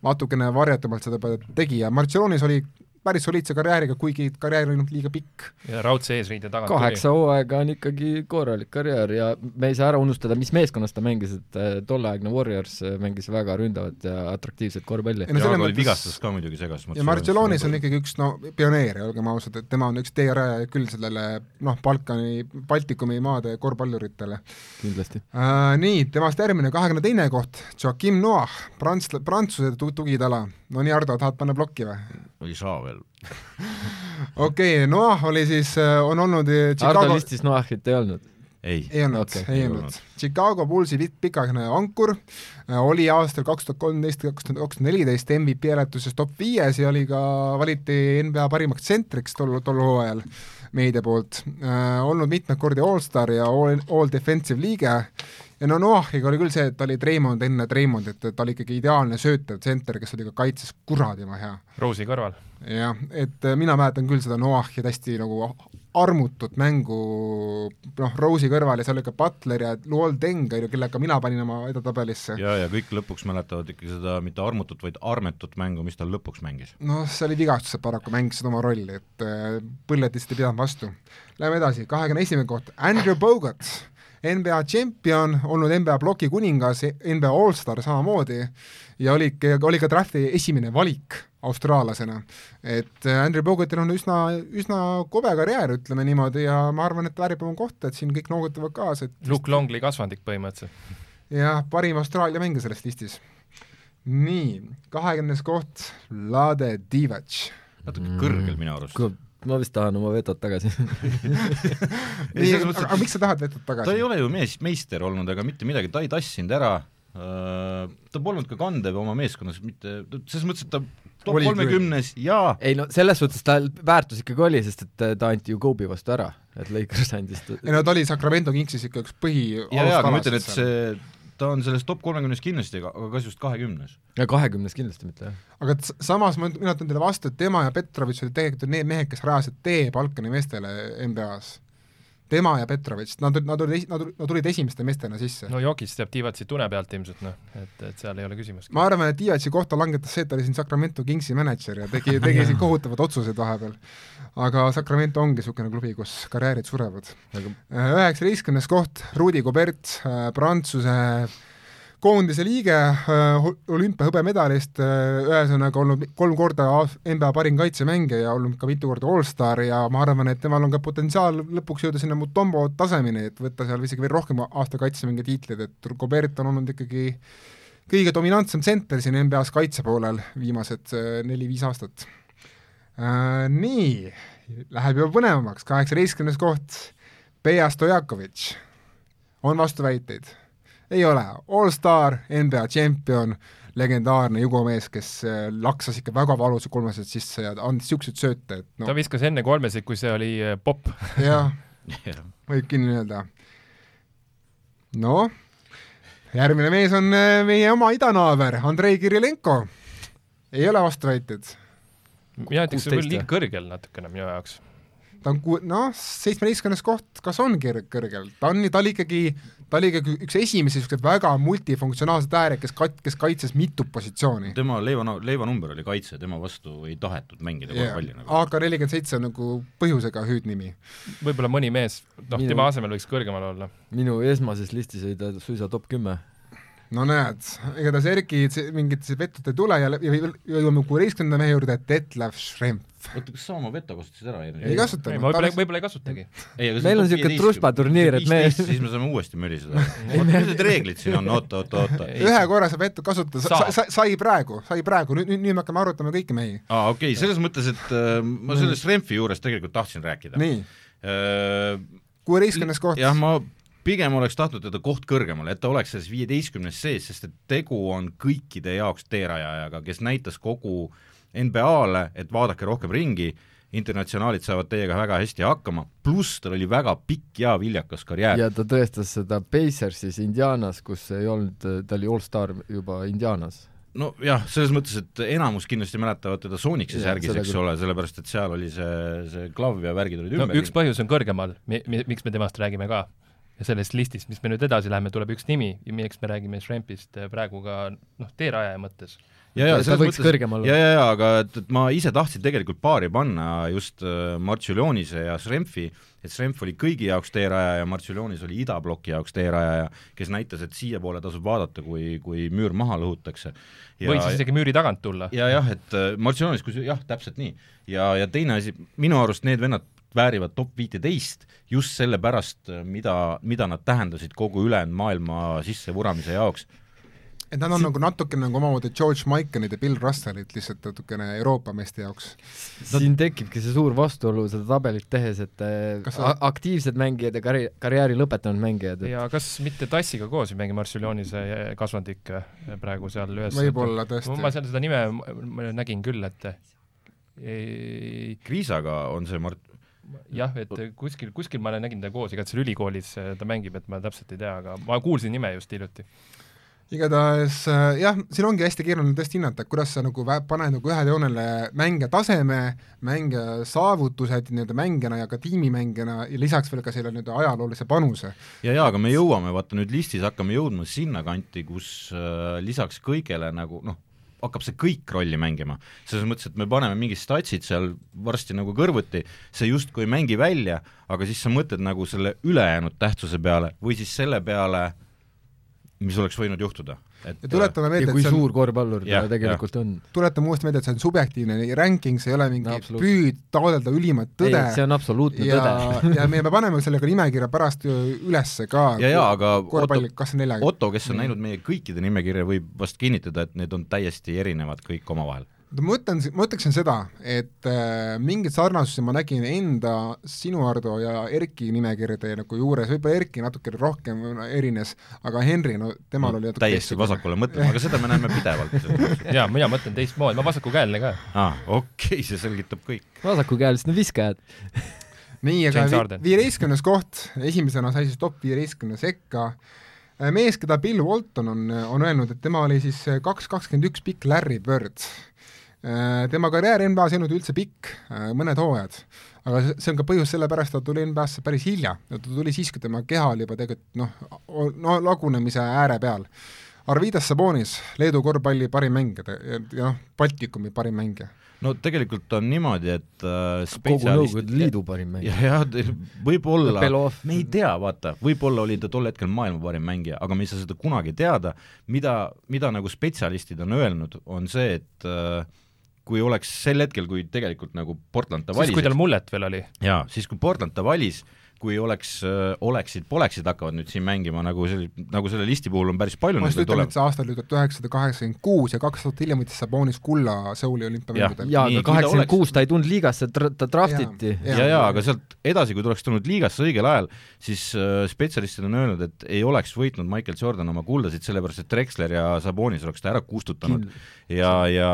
[SPEAKER 1] natukene varjatumalt seda juba tegi ja Martšilonis oli päris soliidse karjääriga , kuigi karjäär oli liiga pikk .
[SPEAKER 4] ja raudse eesriide tagant
[SPEAKER 2] kaheksa hooaega on ikkagi korralik karjäär ja me ei saa ära unustada , mis meeskonnas ta mängis , et äh, tolleaegne Warriors äh, mängis väga ründavat ja atraktiivset korvpalli .
[SPEAKER 1] no
[SPEAKER 3] ja
[SPEAKER 1] selles
[SPEAKER 3] aga oli
[SPEAKER 1] mõttes-
[SPEAKER 3] vigastus ka muidugi segas .
[SPEAKER 1] ja Martšelonis on ikkagi üks no pioneer , olgem ausad , et tema on üks teerajaja küll sellele noh , Balkani , Baltikumi maade korvpalluritele
[SPEAKER 2] kindlasti .
[SPEAKER 1] äh, . Nii , temast järgmine , kahekümne teine koht , Joachim Noah , prants- , prantsuse tu- tugitala . no nii , Ardo , tahad panna plokki või ?
[SPEAKER 3] ei saa veel .
[SPEAKER 1] okei okay, , Noah oli siis , on olnud äh,
[SPEAKER 2] Ardo
[SPEAKER 1] Chicago ,
[SPEAKER 2] listis Noahit ei olnud .
[SPEAKER 3] ei ,
[SPEAKER 1] ei olnud
[SPEAKER 2] Okei.
[SPEAKER 1] okay. , ei
[SPEAKER 3] Ei
[SPEAKER 1] olnud
[SPEAKER 3] olnud. .
[SPEAKER 1] Chicago Bullsi pik- pikaaegne ankur äh, oli aastal kaks tuhat kolmteist ja kaks tuhat , kaks tuhat neliteist MVP hääletuses top viies ja oli ka , valiti NBA parimaks tsentriks tol , tol hooajal Äh, meedia poolt . olnud mitmeid kordi allstar ja all , all defensive liige ja no Noachiga oli küll see, et ta oli Treimond enne Treimondit, et ta oli ikkagi ideaalne söötev tsenter, kes oli ka kaitses kuradima hea.
[SPEAKER 4] Roosi kõrval .
[SPEAKER 1] jah, et äh, mina mäletan küll seda Noachi täiesti nagu armutut mängu noh, Rose'i kõrval ja seal oli ka Butler ja Luol Deng oli ju, kellega mina panin oma edetabelisse .
[SPEAKER 3] ja , ja kõik lõpuks mäletavad ikkagi seda mitte armutut , vaid armetut mängu , mis tal lõpuks mängis .
[SPEAKER 1] noh , see oli vigastused paraku , mängisid oma rolli , et äh, põlled lihtsalt ei pidanud vastu . Läheme edasi , kahekümne esimene koht , Andrew Bogut , NBA tšempion , olnud NBA ploki kuningas , NBA allstar samamoodi ja oli , oli ka drafti esimene valik austraallasena . et äh, Andrew Bogutil on üsna , üsna kobe karjäär , ütleme niimoodi , ja ma arvan , et väärib oma kohta , et siin kõik noogutavad kaasa , et
[SPEAKER 4] Luke Longli kasvandik põhimõtteliselt .
[SPEAKER 1] jah , parim Austraalia mängija selles listis . nii , kahekümnes koht , Lade Divac
[SPEAKER 3] natuke
[SPEAKER 2] Mm.
[SPEAKER 3] mm. kõrgel minu arust .
[SPEAKER 2] ma vist tahan oma vetod tagasi .
[SPEAKER 1] nii ,
[SPEAKER 3] selles
[SPEAKER 1] aga,
[SPEAKER 3] mõttes, et-
[SPEAKER 1] aga miks sa tahad vetot tagasi ?
[SPEAKER 3] ta ei ole ju mees , meister olnud ega mitte midagi , ta ei tassinud ära , ta polnud ka kandev oma meeskonnas , mitte , selles mõttes , et ta top
[SPEAKER 1] Oli küll.
[SPEAKER 3] kolmekümnes ja
[SPEAKER 2] ei no selles suhtes tal väärtus ikkagi oli , sest et ta anti ju Kobe vastu ära , et Lakers andis ta...
[SPEAKER 1] ei no ta oli Sacramento Kingsis ikka üks põhi
[SPEAKER 3] ja , ja aga ma ütlen , et see , ta on selles top kolmekümnes kindlasti , aga , aga kas just kahekümnes ?
[SPEAKER 2] ja kahekümnes kindlasti mitte jah .
[SPEAKER 1] aga et s- samas ma üt- mina ütlen teile vastu , et tema ja Petrovitš olid tegelikult ju need mehed , kes rajasid tee Balkani meestele NBA-s . tema ja Petrovitš , nad , nad olid , nad olid , nad tulid esimeste meestena sisse no. .
[SPEAKER 4] no Jokis teab Tiivatsi tune pealt ilmselt noh , et , et seal ei ole küsimust .
[SPEAKER 1] ma arvan , et Divatsi kohta langetas see , et ta oli siin Sacramento Kingsi mänedžer ja tegi , tegi siin kohutavad otsuseid vahepeal . aga Sacramento ongi niisugune klubi , kus karjäärid surevad .
[SPEAKER 2] aga
[SPEAKER 1] üheksateistkümnes koht , Rudi Gobert , Prantsuse koondise liige , olümpiahõbemedalist , ühesõnaga olnud kolm korda aas- NBA parim kaitsemängija ja olnud ka mitu korda allstar ja ma arvan , et temal on ka potentsiaal lõpuks jõuda sinna Mutombo tasemeni , et võtta seal isegi veel rohkem aasta kaitsemängija tiitlid , et Gobert on olnud ikkagi kõige dominantsem tsenter siin NBA-s kaitse poolel viimased äh, neli-viis aastat . Nii , läheb juba põnevamaks , kaheksateistkümnes koht , Peja Stojakovic , on vastuväiteid ? ei ole , allstar , NBA tšempion , legendaarne jugomees , kes äh, laksas ikka väga valusa kolmesed sisse ja andis niisuguseid sööte , et
[SPEAKER 4] ta
[SPEAKER 1] noh ,
[SPEAKER 4] viskas enne kolmesid , kui see oli äh, popp .
[SPEAKER 1] jah , võibki nii öelda . noh , järgmine mees on äh, meie oma idanaaber Andrei Kirilenko . ei ole vastuväited ,
[SPEAKER 4] mina ütleks , see
[SPEAKER 2] 16,
[SPEAKER 4] on küll liiga
[SPEAKER 2] jah.
[SPEAKER 4] kõrgel natukene minu jaoks .
[SPEAKER 1] ta on ku- , noh , seitsmeteistkümnes koht , kas on kir- , kõrgel , ta on , ta oli ikkagi , ta oli ikkagi üks esimesi niisuguseid väga multifunktsionaalseid ääre , kes kat- , kes kaitses mitut positsiooni .
[SPEAKER 3] tema leiva , leivanumber oli kaitse , tema vastu ei tahetud mängida korvpalli
[SPEAKER 1] Ah.
[SPEAKER 3] nagu .
[SPEAKER 1] AK-47 on nagu põhjusega hüüdnimi .
[SPEAKER 4] võib-olla mõni mees , noh ,
[SPEAKER 2] Minu-
[SPEAKER 4] tema asemel võiks kõrgemal olla .
[SPEAKER 2] minu esmases listis oli ta suisa top kümme .
[SPEAKER 1] no näed , igatahes Erki see- mingit see vetut ei tule ja lä- ja veel- ja jõuame kuueteistkümnenda mehe juurde , Detlev Schrempf .
[SPEAKER 3] oota , kas sa oma veto kasutasid ära
[SPEAKER 1] ei
[SPEAKER 3] eelmine ?
[SPEAKER 1] kasutanud .
[SPEAKER 4] ei , ma võib-olla , võib-olla ei kasutagi .
[SPEAKER 2] Meil on siuke truspaturniir, et me-
[SPEAKER 3] siis me saame uuesti möliseda . mis need reeglid siin on , oota , oota , oota .
[SPEAKER 4] Ei.
[SPEAKER 1] ühe korra saab ette kasutada sa, ,
[SPEAKER 4] Saab.
[SPEAKER 1] sa, sa, sai praegu , sai praegu , nüüd , nüüd me hakkame arutama kõiki mehi .
[SPEAKER 3] aa , okei okay, , selles mõttes , et äh, ma sellest Renfi juures tegelikult tahtsin rääkida .
[SPEAKER 1] nii ,
[SPEAKER 3] kuueteistkümnes
[SPEAKER 1] kuueteistkümnes koht .
[SPEAKER 3] jah , ma pigem oleks tahtnud teda koht kõrgemale , et ta oleks selles viieteistkümnes sees , sest et tegu on kõikide jaoks teerajajaga , kes näitas kogu NBA-le , et vaadake rohkem ringi , internatsionaalid saavad teiega väga hästi hakkama , pluss tal oli väga pikk ja viljakas karjäär .
[SPEAKER 2] ja ta tõestas seda Pacersis Indianas , kus ei olnud , ta oli allstar juba Indianas .
[SPEAKER 3] nojah , selles mõttes , et enamus kindlasti mäletavad teda Sonicsi
[SPEAKER 2] Jaa,
[SPEAKER 3] särgis ,
[SPEAKER 2] seda
[SPEAKER 3] eks
[SPEAKER 2] küll.
[SPEAKER 3] ole , sellepärast et seal oli see , see klav ja värgid olid
[SPEAKER 4] no
[SPEAKER 3] ümber .
[SPEAKER 4] üks põhjus on kõrgemal , mi- , mi- , miks me temast räägime ka . ja sellest listist , mis me nüüd edasi läheme , tuleb üks nimi , milleks me räägime Shrimpist äh, praegu ka noh , teerajaja mõttes .
[SPEAKER 3] ja , ja
[SPEAKER 2] Ta
[SPEAKER 3] selles
[SPEAKER 2] võiks
[SPEAKER 3] mõttes
[SPEAKER 2] kõrgem olla.
[SPEAKER 3] ja , ja , ja aga et , et ma ise tahtsin tegelikult paari panna just äh, Marciulionise ja Schrempfi , et Schrempf oli kõigi jaoks teerajaja ja Marciulionis oli idabloki jaoks teerajaja , kes näitas , et siiapoole tasub vaadata , kui , kui müür maha lõhutakse .
[SPEAKER 4] või siis isegi müüri tagant tulla .
[SPEAKER 3] ja jah , et äh, Marciulionis , kus jah , täpselt nii . ja , ja teine asi , minu arust need vennad väärivad top viiteist just sellepärast , mida , mida nad tähendasid kogu ülejäänud maailma sissevuramise jaoks .
[SPEAKER 1] et nad on nagu natuke nagu omamoodi George Michaelid ja Bill Russellid lihtsalt natukene Euroopa meeste jaoks .
[SPEAKER 2] siin tekibki see suur vastuolu seda tabelit tehes , et äh,
[SPEAKER 1] Kas sa-
[SPEAKER 2] a- aktiivsed mängijad ja karj- , karjääri lõpetanud mängijad , et
[SPEAKER 4] ja kas mitte Tassiga koos ei mängi Marcellionise kasvandik äh, praegu seal ühes
[SPEAKER 1] võib-olla
[SPEAKER 4] ma ma
[SPEAKER 1] tõesti .
[SPEAKER 4] seal seda nime ma- ma nägin küll , et ei ,
[SPEAKER 3] Kriisaga on see Mart- ,
[SPEAKER 4] eh, jah , et kuskil , kuskil ma olen nägin teda koos , igatahes ülikoolis äh, ta mängib , et ma täpselt ei tea , aga ma kuulsin nime just hiljuti .
[SPEAKER 1] igatahes äh, jah , siin ongi hästi keeruline tõesti hinnata , kuidas sa nagu vä- paned nagu ühele joonele mängija taseme , mängija saavutused nii-öelda mängijana ja ka tiimimängijana ja lisaks veel ka selle nii-öelda ajaloolise panuse .
[SPEAKER 3] ja , ja aga me jõuame , vaata nüüd listis hakkame jõudma sinnakanti , kus äh, lisaks kõigele nagu noh , hakkab see kõik rolli mängima . selles mõttes , et me paneme mingid statsid seal varsti nagu kõrvuti , see justkui ei mängi välja , aga siis sa mõtled nagu selle ülejäänud tähtsuse peale või siis selle peale , mis oleks võinud juhtuda . äh,
[SPEAKER 1] ja tuletame
[SPEAKER 2] ja
[SPEAKER 1] meelde ,
[SPEAKER 2] kui
[SPEAKER 1] et see on
[SPEAKER 2] suur korvpallur ta
[SPEAKER 3] Jah,
[SPEAKER 2] tegelikult on .
[SPEAKER 1] tuletame uuesti meelde , et see on subjektiivne ranking , see ei ole mingi
[SPEAKER 2] Absoluutselt.
[SPEAKER 1] püüd taotleda ülimat
[SPEAKER 2] ei
[SPEAKER 1] tõde ,
[SPEAKER 2] see on absoluutne
[SPEAKER 1] ja ,
[SPEAKER 2] tõde .
[SPEAKER 1] ja me me paneme selle ka nimekirja pärast ju ülesse ka .
[SPEAKER 3] ja , ja aga
[SPEAKER 1] korvpalli , kas neljaga .
[SPEAKER 3] Otto , kes
[SPEAKER 1] Mm.
[SPEAKER 3] on näinud meie kõikide nimekirja , võib vast kinnitada , et need on täiesti erinevad kõik omavahel .
[SPEAKER 1] Oota, ma ütlen , ma ütleksin seda , et äh, mingeid sarnasusi ma nägin enda , sinu , Ardo ja Erki nimekirjade nagu juures , võib-olla Erki natukene rohkem erines , aga Henri , no temal no,
[SPEAKER 2] Mm,
[SPEAKER 1] oli natuke
[SPEAKER 3] Noh, täiesti
[SPEAKER 1] teistsugune.
[SPEAKER 3] vasakule mõtlema , aga seda me näeme pidevalt .
[SPEAKER 4] ja mina mõtlen teistmoodi , ma vasakukäeline ka .
[SPEAKER 3] aa ah, , okei okay, , see selgitab kõik .
[SPEAKER 2] vasakukäelised , no viskajad .
[SPEAKER 1] nii ,
[SPEAKER 4] James
[SPEAKER 1] aga vi-
[SPEAKER 4] Harden.
[SPEAKER 1] viieteistkümnes koht , esimesena sai siis top viieteistkümne sekka , mees , keda Bill Walton on , on öelnud , et tema oli siis äh, kaks kakskümmend üks pikk Larry Bird . tema karjäär NBA-s ei olnud üldse pikk , mõned hooajad , aga see see on ka põhjus sellepärast , et ta tuli NBA-sse päris hilja , ta tuli siis , kui tema keha oli juba tegelikult noh , no lagunemise ääre peal . Arvidas Sabonis , Leedu korvpalli parim mängija ja ja noh , Baltikumi parim mängija .
[SPEAKER 3] no tegelikult on niimoodi , et äh,
[SPEAKER 2] kogu
[SPEAKER 3] spetsialistid
[SPEAKER 2] Nõukogude Liidu parim mängija .
[SPEAKER 3] jah , jah , võib-olla ,
[SPEAKER 2] Belov.
[SPEAKER 3] me ei tea , vaata , võib-olla oli ta tol hetkel maailma parim mängija , aga me ei saa seda kunagi teada , mida , mida nagu spetsialistid on öelnud , on see , et äh, kui oleks sel hetkel , kui tegelikult nagu Portland ta
[SPEAKER 4] siis ,
[SPEAKER 3] valis ,
[SPEAKER 4] kui tal mullet veel oli .
[SPEAKER 3] jaa , siis kui Portland ta valis , kui oleks , oleksid , poleksid , hakkavad nüüd siin mängima nagu sel- , nagu selle listi puhul on päris palju
[SPEAKER 1] ma just
[SPEAKER 3] neid
[SPEAKER 1] ütlen ,
[SPEAKER 3] tuleb
[SPEAKER 1] et . see aasta oli tuhat üheksasada kaheksakümmend kuus ja kaks aastat hiljem võttis Sabonis kulla Seuli olümpiamängudel .
[SPEAKER 2] jaa , aga
[SPEAKER 3] Nii, mida
[SPEAKER 2] kaheksakümmend kuus ta ei tulnud liigasse , ta draftiti .
[SPEAKER 1] Jaa.
[SPEAKER 3] ja , ja aga sealt edasi , kui ta oleks tulnud liigasse õigel ajal , siis äh, spetsialistid on öelnud , et ei oleks võitnud Michael Jordan oma kuldasid , sellepärast et Drexler ja Sabonis oleks ta ära kustutanud ja , ja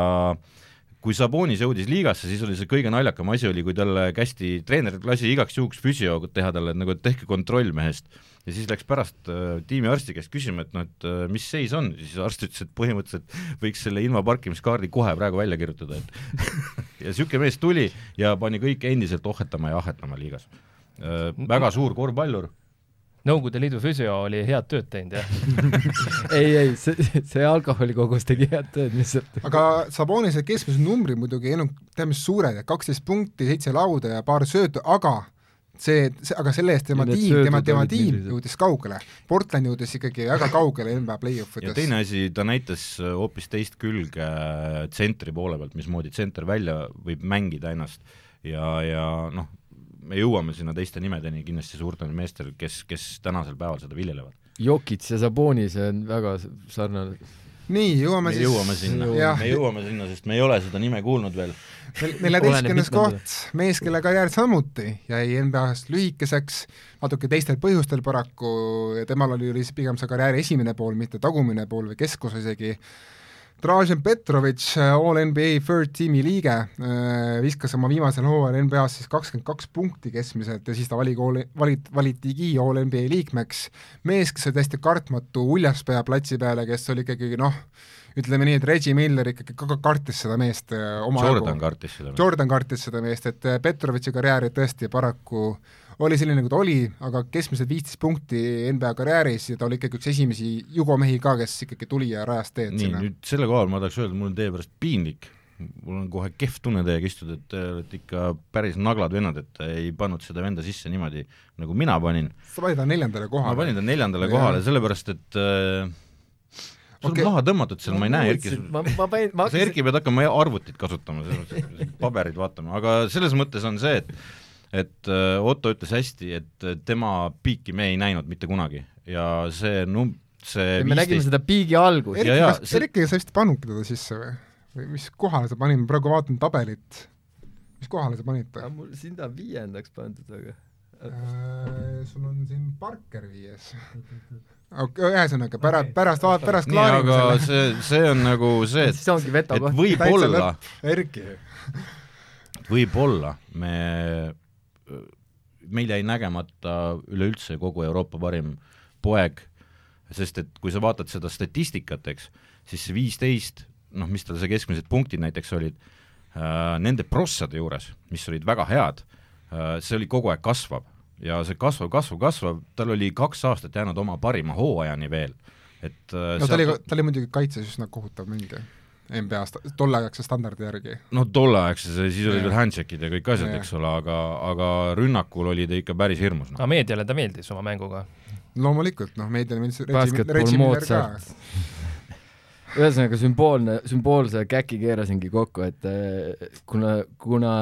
[SPEAKER 3] kui Sabonis jõudis liigasse , siis oli see kõige naljakam asi oli , kui talle kästi , treener lasi igaks juhuks füsio teha talle et nagu , et tehke kontroll mehest . ja siis läks pärast äh, tiimiarsti käest küsima , et noh , et äh, mis seis on , siis arst ütles , et põhimõtteliselt võiks selle ilma parkimiskaardi kohe praegu välja kirjutada , et ja niisugune mees tuli ja pani kõik endiselt ohhetama ja ahhetama liigas . Väga suur korvpallur ,
[SPEAKER 4] Nõukogude Liidu füsio oli head tööd teinud , jah .
[SPEAKER 2] ei , ei , see , see alkoholikogus tegi head tööd lihtsalt .
[SPEAKER 1] aga Sabonise keskmise numbrid muidugi ei olnud teab mis suured , kaksteist punkti , seitse lauda ja paar söötu , aga see, see , aga selle eest tema
[SPEAKER 2] Ja need
[SPEAKER 1] tiim ,
[SPEAKER 2] söödud
[SPEAKER 1] tema , tema
[SPEAKER 2] olid
[SPEAKER 1] tiim
[SPEAKER 2] millised?
[SPEAKER 1] jõudis kaugele . Portland jõudis ikkagi väga kaugele NBA play-off
[SPEAKER 3] ja
[SPEAKER 1] ides .
[SPEAKER 3] teine asi , ta näitas äh, hoopis teist külge äh, tsentri poole pealt , mismoodi tsenter välja võib mängida ennast ja , ja noh , me jõuame sinna teiste nimedeni kindlasti suurtel meestel , kes , kes tänasel päeval seda viljelevad .
[SPEAKER 2] Jokits ja Sabonis on väga s- sarnane .
[SPEAKER 1] nii , jõuame
[SPEAKER 3] me
[SPEAKER 1] siis
[SPEAKER 3] jõuame sinna ,
[SPEAKER 1] jah.
[SPEAKER 3] me jõuame sinna , sest me ei ole seda nime kuulnud veel .
[SPEAKER 1] nel-
[SPEAKER 2] Oleneb
[SPEAKER 1] neljateistkümnes
[SPEAKER 2] mitmenda.
[SPEAKER 1] koht , mees , kelle karjäär samuti jäi NBA-st lühikeseks , natuke teistel põhjustel paraku , temal oli , oli siis pigem see karjääri esimene pool , mitte tagumine pool või keskus isegi , Dražen Petrovic , all NBA third tiimi liige , viskas oma viimasel hooajal NBA-s siis kakskümmend kaks punkti keskmiselt ja siis ta vali- , valit- , valitigi all NBA liikmeks . mees , kes oli täiesti kartmatu uljaspäja platsi peale , kes oli ikkagi noh , ütleme nii , et Reggie Miller ikkagi ka- ka kartis seda meest öö, omajagu .
[SPEAKER 3] Jordan kartis seda .
[SPEAKER 1] Jordan kartis seda meest , et äh, Petrovitši karjääri tõesti paraku oli selline , nagu ta oli , aga keskmiselt viisteist punkti NBA karjääris ja ta oli ikkagi üks esimesi jugomehi ka , kes ikkagi tuli ja rajas teed
[SPEAKER 3] nii ,
[SPEAKER 1] sinna .
[SPEAKER 3] nüüd selle koha peal ma tahaks öelda , mul on teie pärast piinlik . mul on kohe kehv tunne teiega istuda , et te olete ikka päris naglad vennad , et te ei pannud seda venda sisse niimoodi , nagu mina panin .
[SPEAKER 1] sa panid ta neljandale
[SPEAKER 3] ma
[SPEAKER 1] kohale
[SPEAKER 3] panin . ta neljandale
[SPEAKER 1] Jaa.
[SPEAKER 3] kohale , sellepärast et äh, sul
[SPEAKER 1] Okei.
[SPEAKER 3] on maha tõmmatud seal , ma ei näe , Erki ,
[SPEAKER 2] ma , ma panin , ma
[SPEAKER 3] sa , Erki pead hakkama arvutit kasutama , paberid vaatama , aga selles mõttes on see , et et äh, Otto ütles hästi , et äh, tema piiki me ei näinud mitte kunagi ja see num- , see
[SPEAKER 2] me nägime seda piigi algust .
[SPEAKER 1] Erki ,
[SPEAKER 3] jaa,
[SPEAKER 1] kas
[SPEAKER 3] see-
[SPEAKER 1] see... , Erki , kas sa vist panudki teda sisse või ? või mis kohale sa panid , ma praegu vaatan tabelit . mis kohale sa panid ta ?
[SPEAKER 2] mul sind on viiendaks pandud , aga
[SPEAKER 1] Äh, sul on siin Parker viies . okei , ühesõnaga pärast , pärast , pärast
[SPEAKER 3] nii ,
[SPEAKER 1] klaarime
[SPEAKER 3] aga
[SPEAKER 1] selle .
[SPEAKER 3] see , see on nagu see , et
[SPEAKER 2] siis ongi veto
[SPEAKER 3] et
[SPEAKER 2] koht .
[SPEAKER 1] täitsa
[SPEAKER 3] võib-olla ,
[SPEAKER 1] Erki ,
[SPEAKER 3] võib-olla me meil jäi nägemata üleüldse kogu Euroopa parim poeg, sest et kui sa vaatad seda statistikat, eks, siis see viisteist, noh, mis tal see keskmised punktid näiteks olid, äh, nende prossade juures, mis olid väga head, äh, see oli kogu aeg kasvav ja see kasvav, kasvav, kasvav, tal oli kaks aastat jäänud oma parima hooajani veel, et äh,
[SPEAKER 1] no ta oli , ta oli muidugi kaitses üsna kohutav mingi NBA-s tolleaegse standardi järgi .
[SPEAKER 3] no tolleaegse , siis olid
[SPEAKER 1] Jah.
[SPEAKER 3] veel handshakid ja kõik asjad ,
[SPEAKER 1] Jah.
[SPEAKER 3] eks ole , aga , aga rünnakul oli ta ikka päris hirmus , noh .
[SPEAKER 4] aga meediale ta meeldis oma mänguga .
[SPEAKER 1] loomulikult , noh , meediale meeldis Reggie
[SPEAKER 2] Basketball
[SPEAKER 1] Reggie Miller ka .
[SPEAKER 2] Mozart. ühesõnaga sümboolne , sümboolse käki keerasingi kokku , et eh, kuna , kuna ,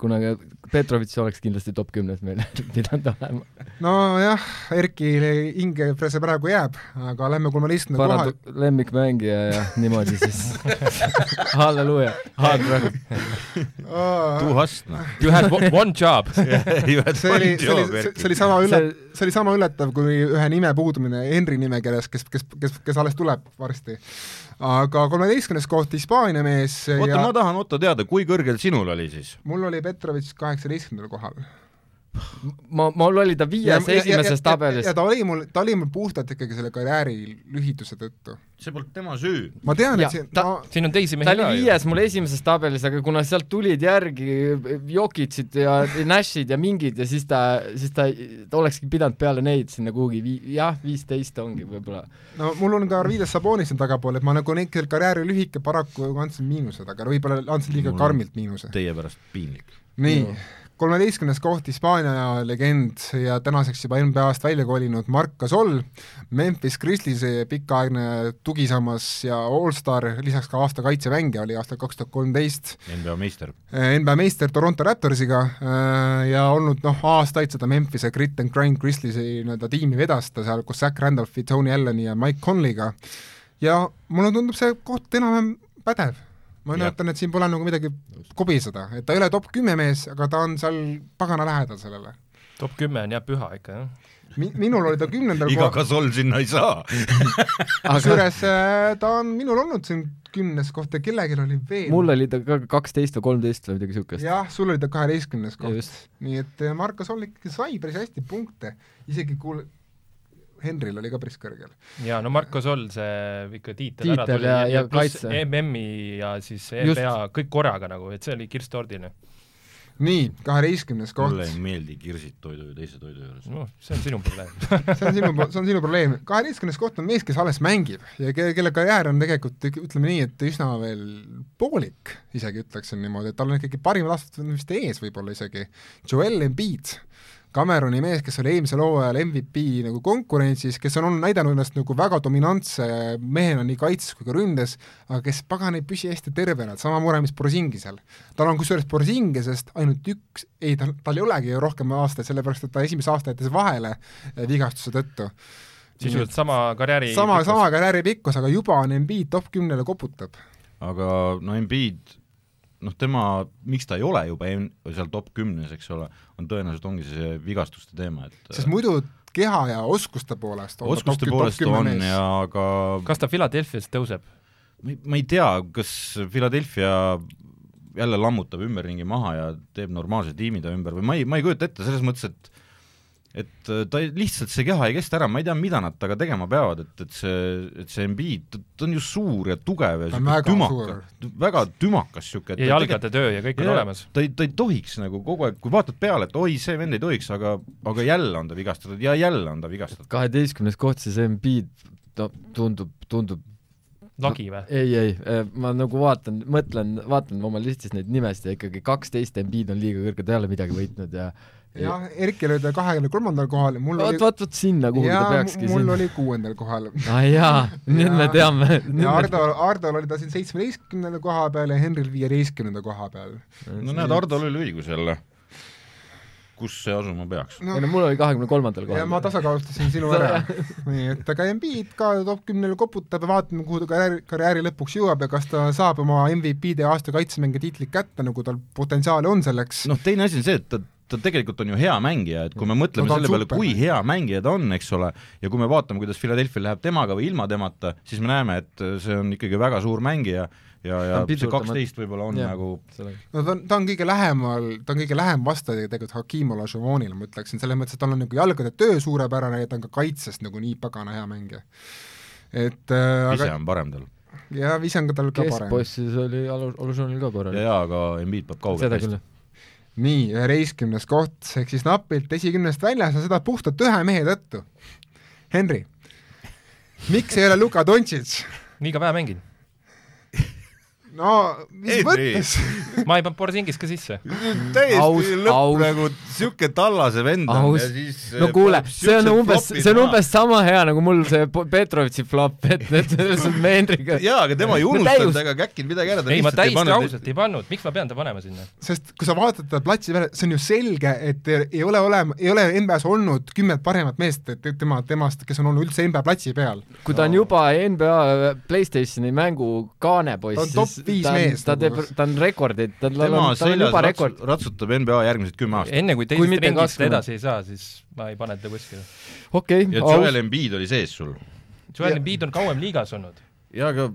[SPEAKER 2] kuna Petrovitš oleks kindlasti top kümnes meil pidanud olema .
[SPEAKER 1] nojah , Erkile hinge see praegu jääb , aga lähme kolmeteistkümne koha ,
[SPEAKER 2] parand- , lemmikmängija ja niimoodi siis . halleluuja , hard rock .
[SPEAKER 3] Too hast , noh .
[SPEAKER 4] You had one- one job .
[SPEAKER 1] see oli , see oli , see oli sama üle- , see oli sama üllatav kui ühe nime puudumine Henri nimekirjas , kes , kes , kes , kes alles tuleb varsti . aga kolmeteistkümnes koht Hispaania mees
[SPEAKER 3] oota ,
[SPEAKER 1] ja
[SPEAKER 3] ma tahan , Otto , teada , kui kõrgel sinul oli siis ?
[SPEAKER 1] mul oli Petrovitš kaheksateistkümnendal kohal .
[SPEAKER 2] ma , mul oli ta viies esimeses tabelis
[SPEAKER 1] ja . ta oli mul , ta oli mul puhtalt ikkagi selle karjääri lühituse tõttu .
[SPEAKER 3] see polnud tema süü .
[SPEAKER 1] ma tean ,
[SPEAKER 2] Ja
[SPEAKER 1] et see ,
[SPEAKER 2] ta-
[SPEAKER 1] ma
[SPEAKER 4] siin on teisi
[SPEAKER 2] ta
[SPEAKER 4] mehi
[SPEAKER 2] oli
[SPEAKER 4] ka ju .
[SPEAKER 2] viies mul esimeses tabelis , aga kuna sealt tulid järgi Jokitsid ja Nashid ja mingid ja siis ta , siis ta, ta olekski pidanud peale neid sinna kuhugi vii- , jah , viisteist ongi võib-olla .
[SPEAKER 1] no mul on ka Arvides Sabonis siin tagapool , et ma nagu neil karjääri lühike paraku nagu andsin miinused , aga võib-olla andsin liiga
[SPEAKER 3] Mul on-
[SPEAKER 1] karmilt miinuse .
[SPEAKER 3] Teie pärast piinlik .
[SPEAKER 1] nii
[SPEAKER 2] Jah. ,
[SPEAKER 1] kolmeteistkümnes koht Hispaania legend ja tänaseks juba NBA-st välja kolinud Mark Gasol , Memphis Grizzlies'e pikaaegne tugisammas ja allstar , lisaks ka aasta kaitsemängija oli aastal kaks tuhat kolmteist ,
[SPEAKER 3] NBA meister .
[SPEAKER 1] NBA meister Toronto Raptorsiga äh, ja olnud noh , aastaid seda Memphise Grit and Grind Grizzliesi nii-öelda tiimi vedas ta seal koos Zack Randolphi , Tony Allani ja Mike Conley'ga ja mulle tundub see koht enam-vähem pädev . ma
[SPEAKER 3] Jah.
[SPEAKER 1] nimetan , et siin pole nagu midagi kobiseda , et ta ei ole top kümme mees , aga ta on seal pagana lähedal sellele .
[SPEAKER 4] top kümme on jah püha ikka jah .
[SPEAKER 1] Mi- , minul oli ta kümnendal
[SPEAKER 3] iga
[SPEAKER 1] kohal ,
[SPEAKER 3] kasol sinna ei saa .
[SPEAKER 2] aga
[SPEAKER 1] kusjuures äh, ta on minul olnud siin kümnes koht ja kellelgi oli veel .
[SPEAKER 2] mul oli ta ka kaksteist või kolmteist või midagi siukest .
[SPEAKER 1] jah , sul oli ta kaheteistkümnes koht .
[SPEAKER 2] just ,
[SPEAKER 1] nii et äh, Marko Sollik sai päris hästi punkte , isegi kuul- , Henril oli ka päris kõrgel .
[SPEAKER 4] ja no Marko Sol see ikka tiitel, ära
[SPEAKER 2] Tiitel
[SPEAKER 4] tuli
[SPEAKER 2] ja- ja
[SPEAKER 4] pluss
[SPEAKER 2] kaitse.
[SPEAKER 4] MM-i ja siis
[SPEAKER 2] Just.
[SPEAKER 4] NBA kõik korraga nagu , et see oli kirss tordile .
[SPEAKER 1] nii , kaheteistkümnes koht ,
[SPEAKER 3] mulle ei meeldi kirsid toidu ja teise toidu juures .
[SPEAKER 4] noh , see on sinu probleem .
[SPEAKER 1] see on sinu , see on sinu probleem . kaheteistkümnes koht on mees , kes alles mängib ja ke- kelle karjäär on tegelikult ikka- ütleme nii , et üsna veel poolik , isegi ütleksin niimoodi , et tal on ikkagi parimad aastad on vist ees võib-olla isegi , Joel Embiid , Cameroni mees , kes oli eelmisel hooajal MVP nagu konkurentsis , kes on olnud näidanud ennast nagu väga dominantse mehena nii kaitses kui ka ründes , aga kes pagan ei püsi hästi tervena , et sama mure , mis Borsingi seal . tal on kusjuures Borsingisest ainult üks , ei tal , tal ei olegi ju rohkem aastaid , sellepärast et ta esimese aasta jättis vahele eh, vigastuse tõttu .
[SPEAKER 4] sisuliselt sama karjääri
[SPEAKER 1] sama , sama karjääri pikkus , aga juba on Embiid top kümnele koputab .
[SPEAKER 3] aga no Embiid , noh tema , miks ta ei ole juba en- seal top kümnes , eks ole , on tõenäoliselt ongi see vigastuste teema , et äh,
[SPEAKER 1] sest muidu keha ja oskuste poolest on ta top
[SPEAKER 3] oskuste
[SPEAKER 1] kü- top
[SPEAKER 3] poolest
[SPEAKER 1] kümne
[SPEAKER 3] on
[SPEAKER 1] mees.
[SPEAKER 3] ja aga
[SPEAKER 4] kas ta Philadelphia's tõuseb ?
[SPEAKER 3] ma ei- ma ei tea , kas Philadelphia jälle lammutab ümberringi maha ja teeb normaalse tiimi ta ümber või ma ei , ma ei kujuta ette selles mõttes , et et äh, ta ei- lihtsalt , see keha ei kesta ära , ma ei tea , mida nad temaga tegema peavad , et , et see , et see Embiid , ta on ju suur ja tugev ja
[SPEAKER 1] Ta on
[SPEAKER 3] sihuke
[SPEAKER 1] väga
[SPEAKER 3] tümakas , väga tümakas sihuke .
[SPEAKER 4] ja jalgade töö ja kõik on
[SPEAKER 3] Jaa.
[SPEAKER 4] olemas .
[SPEAKER 3] ta ei , ta ei tohiks nagu kogu aeg , kui vaatad peale , et oi , see vend ei tohiks , aga , aga jälle on ta vigastatud ja jälle on ta vigastatud .
[SPEAKER 2] kaheteistkümnes koht siis Embiid , no tundub , tundub ,
[SPEAKER 4] lagi või ?
[SPEAKER 2] ei , ei , ma nagu vaatan , mõtlen , vaatan oma listis neid nimesid ja ikkagi kaksteist Embiid on liiga kõrge , ta ei ole midagi võitnud ja
[SPEAKER 1] jah , Erkil oli ta kahekümne kolmandal kohal , mul
[SPEAKER 2] vot ,
[SPEAKER 1] oli
[SPEAKER 2] vot , vot sinna , kuhu ta
[SPEAKER 1] jaa,
[SPEAKER 2] peakski
[SPEAKER 1] mul
[SPEAKER 2] sinna .
[SPEAKER 1] oli kuuendal kohal
[SPEAKER 2] aa jaa , nüüd me
[SPEAKER 1] Jaa.
[SPEAKER 2] teame .
[SPEAKER 1] ja Hardol , Hardol oli ta siin seitsmeteistkümnenda koha peal ja Henril viieteistkümnenda koha peal .
[SPEAKER 3] no näed , Hardol oli õigus jälle . kus see asuma peaks ?
[SPEAKER 2] ei no mul oli kahekümne kolmandal
[SPEAKER 1] ja
[SPEAKER 2] kohal .
[SPEAKER 1] ma tasakaalustasin sinu ära . nii , et aga Embiid ka top kümnele koputab ja vaatame , kuhu ta karjääri , karjääri lõpuks jõuab ja kas ta saab oma MVP-d ja aasta kaitsemängija tiitlit kätte , nagu tal potentsiaali on selleks .
[SPEAKER 3] noh , teine asi on see , et ta , ta tegelikult on ju hea mängija , et kui me mõtleme
[SPEAKER 1] No ta on
[SPEAKER 3] no, selle peale ,
[SPEAKER 1] super
[SPEAKER 3] kui
[SPEAKER 1] mängija.
[SPEAKER 3] hea mängija ta on , eks ole , ja kui me vaatame , kuidas Philadelphia läheb temaga või ilma temata , siis me näeme , et see on ikkagi väga suur mängija ja , ja
[SPEAKER 2] on
[SPEAKER 3] see
[SPEAKER 2] pidurdamatu.
[SPEAKER 3] kaksteist võib-olla on
[SPEAKER 2] Jah.
[SPEAKER 3] nagu
[SPEAKER 1] no ta on , ta on kõige lähemal , ta on kõige lähem vastaja tegelikult Hakim Olajuwonile , ma ütleksin , selles mõttes , et tal on nagu jalgade töö suurepärane ja ta on ka kaitses nagu nii pagana hea mängija . et äh,
[SPEAKER 3] ise
[SPEAKER 1] aga
[SPEAKER 3] on parem tal .
[SPEAKER 1] ja Vise on ka tal ka parem .
[SPEAKER 2] keskbossis oli Alu- , Alusoonil ka
[SPEAKER 3] ja ,
[SPEAKER 2] korralik .
[SPEAKER 3] ja aga Embiid peab kaugelt
[SPEAKER 2] seda küll .
[SPEAKER 1] nii , üheteistkümnes koht , ehk siis napilt esikümnest väljas ja seda puhtalt ühe mehe tõttu . Henri , miks ei ole Luka Dontšits ?
[SPEAKER 4] liiga vähe mängin .
[SPEAKER 1] no mis
[SPEAKER 3] Henri.
[SPEAKER 1] mõttes ?
[SPEAKER 4] ma ei pannud Borisingis ka sisse .
[SPEAKER 2] Aus-
[SPEAKER 3] täiesti
[SPEAKER 2] aus-
[SPEAKER 3] lõpp nagu siuke tallase vend on ja
[SPEAKER 2] aus.
[SPEAKER 3] siis äh, eh,
[SPEAKER 2] no kuule , see on umbes , see on umbes sama hea nagu mul see Po- Petrovitši flop , et , et selles on Meendriga .
[SPEAKER 3] jaa , aga tema ei
[SPEAKER 2] No
[SPEAKER 3] unustanud
[SPEAKER 2] täius-
[SPEAKER 3] ega käkkinud midagi ära , ta
[SPEAKER 4] ei , ma
[SPEAKER 3] lihtsalt ei
[SPEAKER 4] täiesti
[SPEAKER 3] pannud
[SPEAKER 4] ausalt ei pannud , miks ma pean ta panema sinna ?
[SPEAKER 1] sest kui sa vaatad teda platsi peale , see on ju selge , et ei ole olema , ei ole NBA-s olnud kümmet paremat meest , et tema , temast , kes on olnud üldse NBA platsi peal .
[SPEAKER 2] kui ta on juba NBA äh, Playstationi mängu kaanepoiss ,
[SPEAKER 1] Ta on top viis
[SPEAKER 2] ta, on-
[SPEAKER 1] mees
[SPEAKER 2] ta teeb
[SPEAKER 1] nagu- ,
[SPEAKER 2] ta on rekordid , tal on
[SPEAKER 3] tema ,
[SPEAKER 2] tal on
[SPEAKER 3] seljas
[SPEAKER 2] juba
[SPEAKER 3] ratsu-
[SPEAKER 2] rekord .
[SPEAKER 3] ratsutab NBA järgmised kümme aastat .
[SPEAKER 4] enne kui
[SPEAKER 2] Kui
[SPEAKER 4] teisest
[SPEAKER 2] mitte
[SPEAKER 4] ringist
[SPEAKER 2] 20.
[SPEAKER 4] edasi ei saa , siis ma ei pane teda kuskile .
[SPEAKER 2] okei ,
[SPEAKER 3] ja
[SPEAKER 2] aus
[SPEAKER 3] Joel , Embiid oli sees sul .
[SPEAKER 4] Joel Embiid on kauem liigas olnud .
[SPEAKER 3] jaa , aga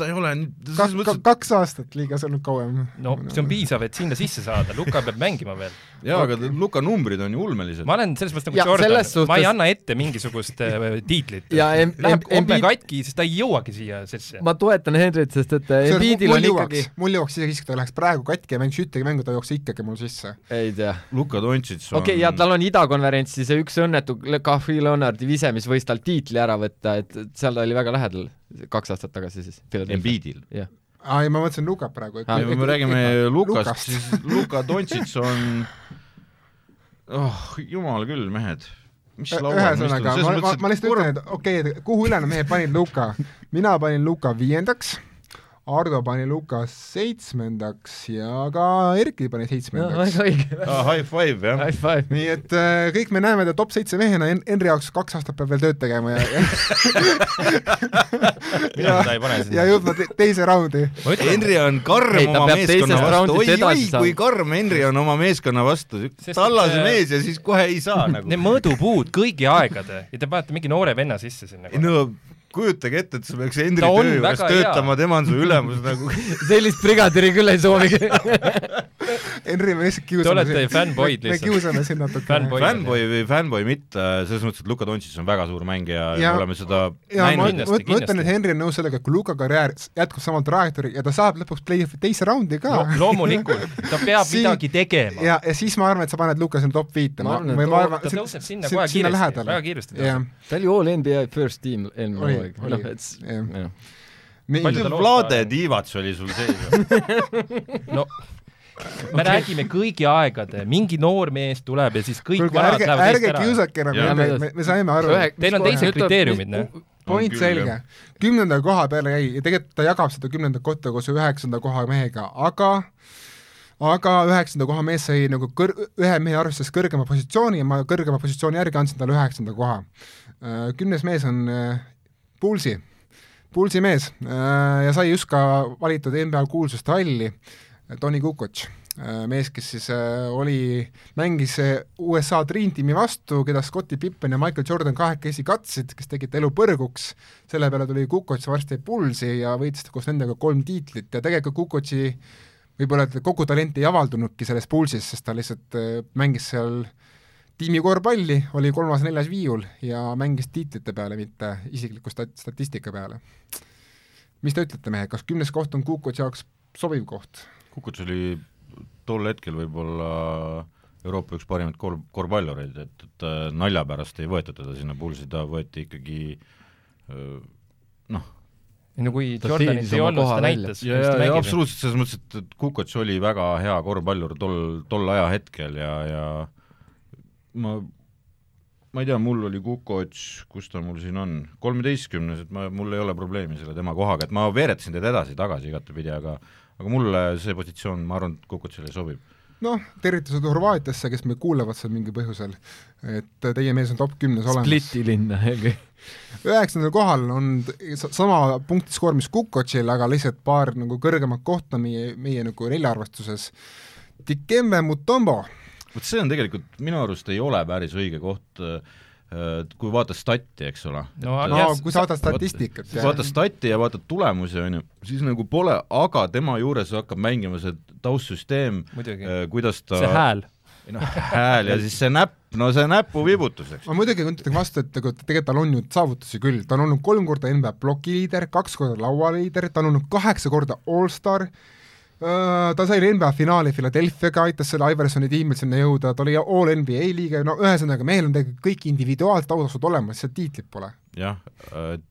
[SPEAKER 3] ta ei ole , selles
[SPEAKER 1] kaks ,
[SPEAKER 3] mõttes ,
[SPEAKER 1] kaks aastat liigas olnud kauem .
[SPEAKER 4] no see on piisav , et sinna sisse saada , Luka peab mängima veel .
[SPEAKER 3] et jaa , aga Luka numbrid on ju ulmelised .
[SPEAKER 4] ma olen selles mõttes nagu
[SPEAKER 2] Ja
[SPEAKER 4] Jordan
[SPEAKER 2] selles , suhtes-
[SPEAKER 4] ma ei anna ette mingisugust äh, tiitlit .
[SPEAKER 2] ja em- ,
[SPEAKER 4] Läheb
[SPEAKER 2] em-
[SPEAKER 4] homme
[SPEAKER 2] Embiid ,
[SPEAKER 4] katki , siis ta ei jõuagi siia sisse .
[SPEAKER 2] ma toetan Hendrit , sest et äh, Embiidil
[SPEAKER 1] mul
[SPEAKER 2] on
[SPEAKER 1] jõuaks
[SPEAKER 2] ikkagi ,,
[SPEAKER 1] mul jõuaks isegi siis , kui ta läheks praegu katki ja mängiks ühtegi mängu , ta jookseks ikkagi mul sisse .
[SPEAKER 2] ei tea ,
[SPEAKER 3] Luka Dontšits on
[SPEAKER 2] okei , ja tal on idakonverentsi see üks õnnetu Kahvi Leonardi vise , mis võis tal tiitli ära võtta , et et seal ta oli väga lähedal kaks aastat tagasi siis .
[SPEAKER 3] Embiidil .
[SPEAKER 2] jah ,
[SPEAKER 1] aa , ei ma mõtlesin Lukat praegu .
[SPEAKER 2] Aa,
[SPEAKER 3] kui me räägime Lukast ,
[SPEAKER 1] Lukast.
[SPEAKER 3] siis Luka Dontšits on , oh jumal küll , mehed , mis laual ma istun ,
[SPEAKER 1] ühesõnaga , ma , ma , ma lihtsalt ütlen , et okei okay, , et kuhu ülejäänud mehed panid Luka ? mina panin Luka viiendaks , Ardo pani Luka seitsmendaks ja ka Erki pani seitsmendaks .
[SPEAKER 2] väga õige ,
[SPEAKER 3] ah, high five jah ,
[SPEAKER 2] high five .
[SPEAKER 1] nii et äh, kõik me näeme ta top seitse mehena , Henri jaoks kaks aastat peab veel tööd tegema ja , ja ,
[SPEAKER 4] mina teda ei pane
[SPEAKER 1] ja
[SPEAKER 4] sinna .
[SPEAKER 1] jõudma te teise raundi .
[SPEAKER 4] ma ütlen ,
[SPEAKER 3] Henri on karm
[SPEAKER 2] Ei,
[SPEAKER 3] ei,
[SPEAKER 2] ta
[SPEAKER 3] oma
[SPEAKER 2] peab
[SPEAKER 3] meeskonna
[SPEAKER 2] teisest
[SPEAKER 3] vastu ,
[SPEAKER 2] raundist
[SPEAKER 3] oi-oi
[SPEAKER 2] edasi , saama.
[SPEAKER 3] kui karm Henri on oma meeskonna vastu ,
[SPEAKER 4] Sest
[SPEAKER 3] tallase
[SPEAKER 4] et, äh,
[SPEAKER 3] mees ja siis kohe ei saa nagu .
[SPEAKER 4] need mõõdupuud kõigi aegade ja te panete mingi noore venna sisse sinna .
[SPEAKER 3] no kujutage ette , et sa peaks Henri
[SPEAKER 4] Ta on
[SPEAKER 3] töö juures
[SPEAKER 4] väga
[SPEAKER 3] töötama , tema on su ülemus nagu .
[SPEAKER 2] sellist brigadiri küll ei soovigi .
[SPEAKER 1] Henri , me lihtsalt
[SPEAKER 4] Te
[SPEAKER 1] kiusame
[SPEAKER 4] olete fännboid
[SPEAKER 1] me
[SPEAKER 4] lihtsalt .
[SPEAKER 1] kiusame sind natuke
[SPEAKER 4] Fännboid. .
[SPEAKER 3] Fanboy või fanboy mitte , selles mõttes , et Luka Dontšis on väga suur mängija ja
[SPEAKER 1] Ja-
[SPEAKER 3] me oleme seda
[SPEAKER 1] ja ma,
[SPEAKER 3] näinud .
[SPEAKER 1] ma,
[SPEAKER 4] kindlasti,
[SPEAKER 1] ma ütlen ,
[SPEAKER 4] kindlasti.
[SPEAKER 1] et Henri on nõus sellega , et kui Luka karjäär jätkub sama trajektoori ja ta saab lõpuks play-off'i teise raundi ka
[SPEAKER 4] No, loomulikult , ta peab
[SPEAKER 1] Siin-
[SPEAKER 4] midagi tegema .
[SPEAKER 1] ja , ja siis ma arvan , et sa paned Luka sinna top viite .
[SPEAKER 2] Ma arvan, et ta-
[SPEAKER 4] ta tõuseb sinna kohe kiiresti , väga kiiresti
[SPEAKER 1] jah
[SPEAKER 4] tõuseb .,
[SPEAKER 2] ta oli all NBA first team eelmine
[SPEAKER 1] Oli,
[SPEAKER 2] hooaeg ,
[SPEAKER 1] oli,
[SPEAKER 2] noh , et s-
[SPEAKER 1] jah.
[SPEAKER 2] jah.
[SPEAKER 1] nii
[SPEAKER 4] Palju- , ta
[SPEAKER 3] Vlade
[SPEAKER 4] loostab.
[SPEAKER 3] tiivats oli sul sees .
[SPEAKER 4] no me räägime kõigi aegade , mingi noor mees tuleb ja siis kõik
[SPEAKER 1] kuulge
[SPEAKER 4] vanad
[SPEAKER 1] ärge ,
[SPEAKER 4] lähevad eest
[SPEAKER 1] ärge
[SPEAKER 4] ära .
[SPEAKER 1] kiusake enam
[SPEAKER 3] Jaa.
[SPEAKER 1] Henri , me , me saime aru .
[SPEAKER 2] Ühe-
[SPEAKER 4] Teil on
[SPEAKER 2] mis
[SPEAKER 4] teised
[SPEAKER 2] kohe-
[SPEAKER 4] kriteeriumid, noh.
[SPEAKER 2] mis-
[SPEAKER 1] point
[SPEAKER 3] On küll,
[SPEAKER 1] selge
[SPEAKER 3] jah. .
[SPEAKER 1] kümnenda koha peale jäi ja tegelikult ta jagab seda kümnendat kohta koos üheksanda koha mehega , aga aga üheksanda koha mees sai nagu kõr- , ühe mehe arvestades kõrgema positsiooni ja ma kõrgema positsiooni järgi andsin talle üheksanda koha . Kümnes mees on äh, Pulsi , Pulsi mees äh, ja sai just ka valitud NBA kuulsuste halli , Tony Kukoc , mees , kes siis äh, oli , mängis äh, USA Dream tiimi vastu , keda Scotti Pippen ja Michael Jordan kahekesi katsid , kes tegid ta elu põrguks , selle peale tuli Kukoc varsti pulsi ja võitis koos nendega kolm tiitlit ja tegelikult Kukoci võib-olla et kogu talent ei avaldunudki selles pulsis , sest ta lihtsalt äh, mängis seal tiimi korvpalli , oli kolmas-neljas viiul ja mängis tiitlite peale , mitte isikliku stat- , statistika peale . mis te ütlete , mehed , kas kümnes koht on Kukoci jaoks sobiv koht ?
[SPEAKER 3] Kukuts oli tol hetkel võib-olla Euroopa üks parimaid kor- , korvpallureid , et , et äh, nalja pärast ei võetud teda sinna pulsi , ta võeti ikkagi öö, noh ,
[SPEAKER 4] no kui
[SPEAKER 2] Ta
[SPEAKER 4] Jordanit
[SPEAKER 2] teenis
[SPEAKER 4] ei
[SPEAKER 2] oma
[SPEAKER 4] olnud ,
[SPEAKER 2] koha
[SPEAKER 4] ta
[SPEAKER 2] välja.
[SPEAKER 4] näitas ,
[SPEAKER 3] ja ,
[SPEAKER 4] mis
[SPEAKER 3] ja
[SPEAKER 4] ta ,
[SPEAKER 3] ja
[SPEAKER 4] mängib .
[SPEAKER 3] absoluutselt selles mõttes , et , et Kukots oli väga hea korvpallur tol , tol ajahetkel ja , ja ma , ma ei tea , mul oli Kukots , kus ta mul siin on , kolmeteistkümnes , et ma , mul ei ole probleemi selle tema kohaga , et ma veeretasin teda edasi-tagasi igatepidi , aga aga mulle see positsioon , ma arvan , et Kukotsile sobib .
[SPEAKER 1] noh , tervitused Horvaatiasse , kes meid kuulevad seal mingil põhjusel , et äh, teie mees on top kümnes olemas .
[SPEAKER 2] Spliti linna eelkõige .
[SPEAKER 1] üheksandal kohal on t- sa- sama punktiskoor , mis Kukotšil , aga lihtsalt paar nagu kõrgemat kohta meie , meie nagu neljaarvestuses . Dikembe Mutombo ,
[SPEAKER 3] vot see on tegelikult minu arust ei ole päris õige koht äh, kui vaatad statti , eks ole ,
[SPEAKER 4] no,
[SPEAKER 1] no
[SPEAKER 4] yes,
[SPEAKER 1] kui sa vaatad statistikat
[SPEAKER 3] siis . vaatad stati ja vaatad tulemusi , on ju , siis nagu pole , aga tema juures hakkab mängima see taustsüsteem ,
[SPEAKER 4] muidugi ,
[SPEAKER 3] kuidas ta
[SPEAKER 4] see hääl .
[SPEAKER 3] Ei noh , hääl ja siis see näpp , no see näpuvibutus , eks .
[SPEAKER 1] ma muidugi ütlen vastu , et nagu tegelikult tal on ju saavutusi küll , ta on olnud kolm korda NBA plokiliider , kaks korda laualiider , ta on olnud kaheksa korda allstar , ta sai NBA finaali Philadelphia'ga , aitas selle Iversoni tiimil sinna jõuda , ta oli all NBA liige , no ühesõnaga , mehel on tegelikult kõik individuaalsed ausad olemas , lihtsalt tiitlit pole .
[SPEAKER 3] jah ,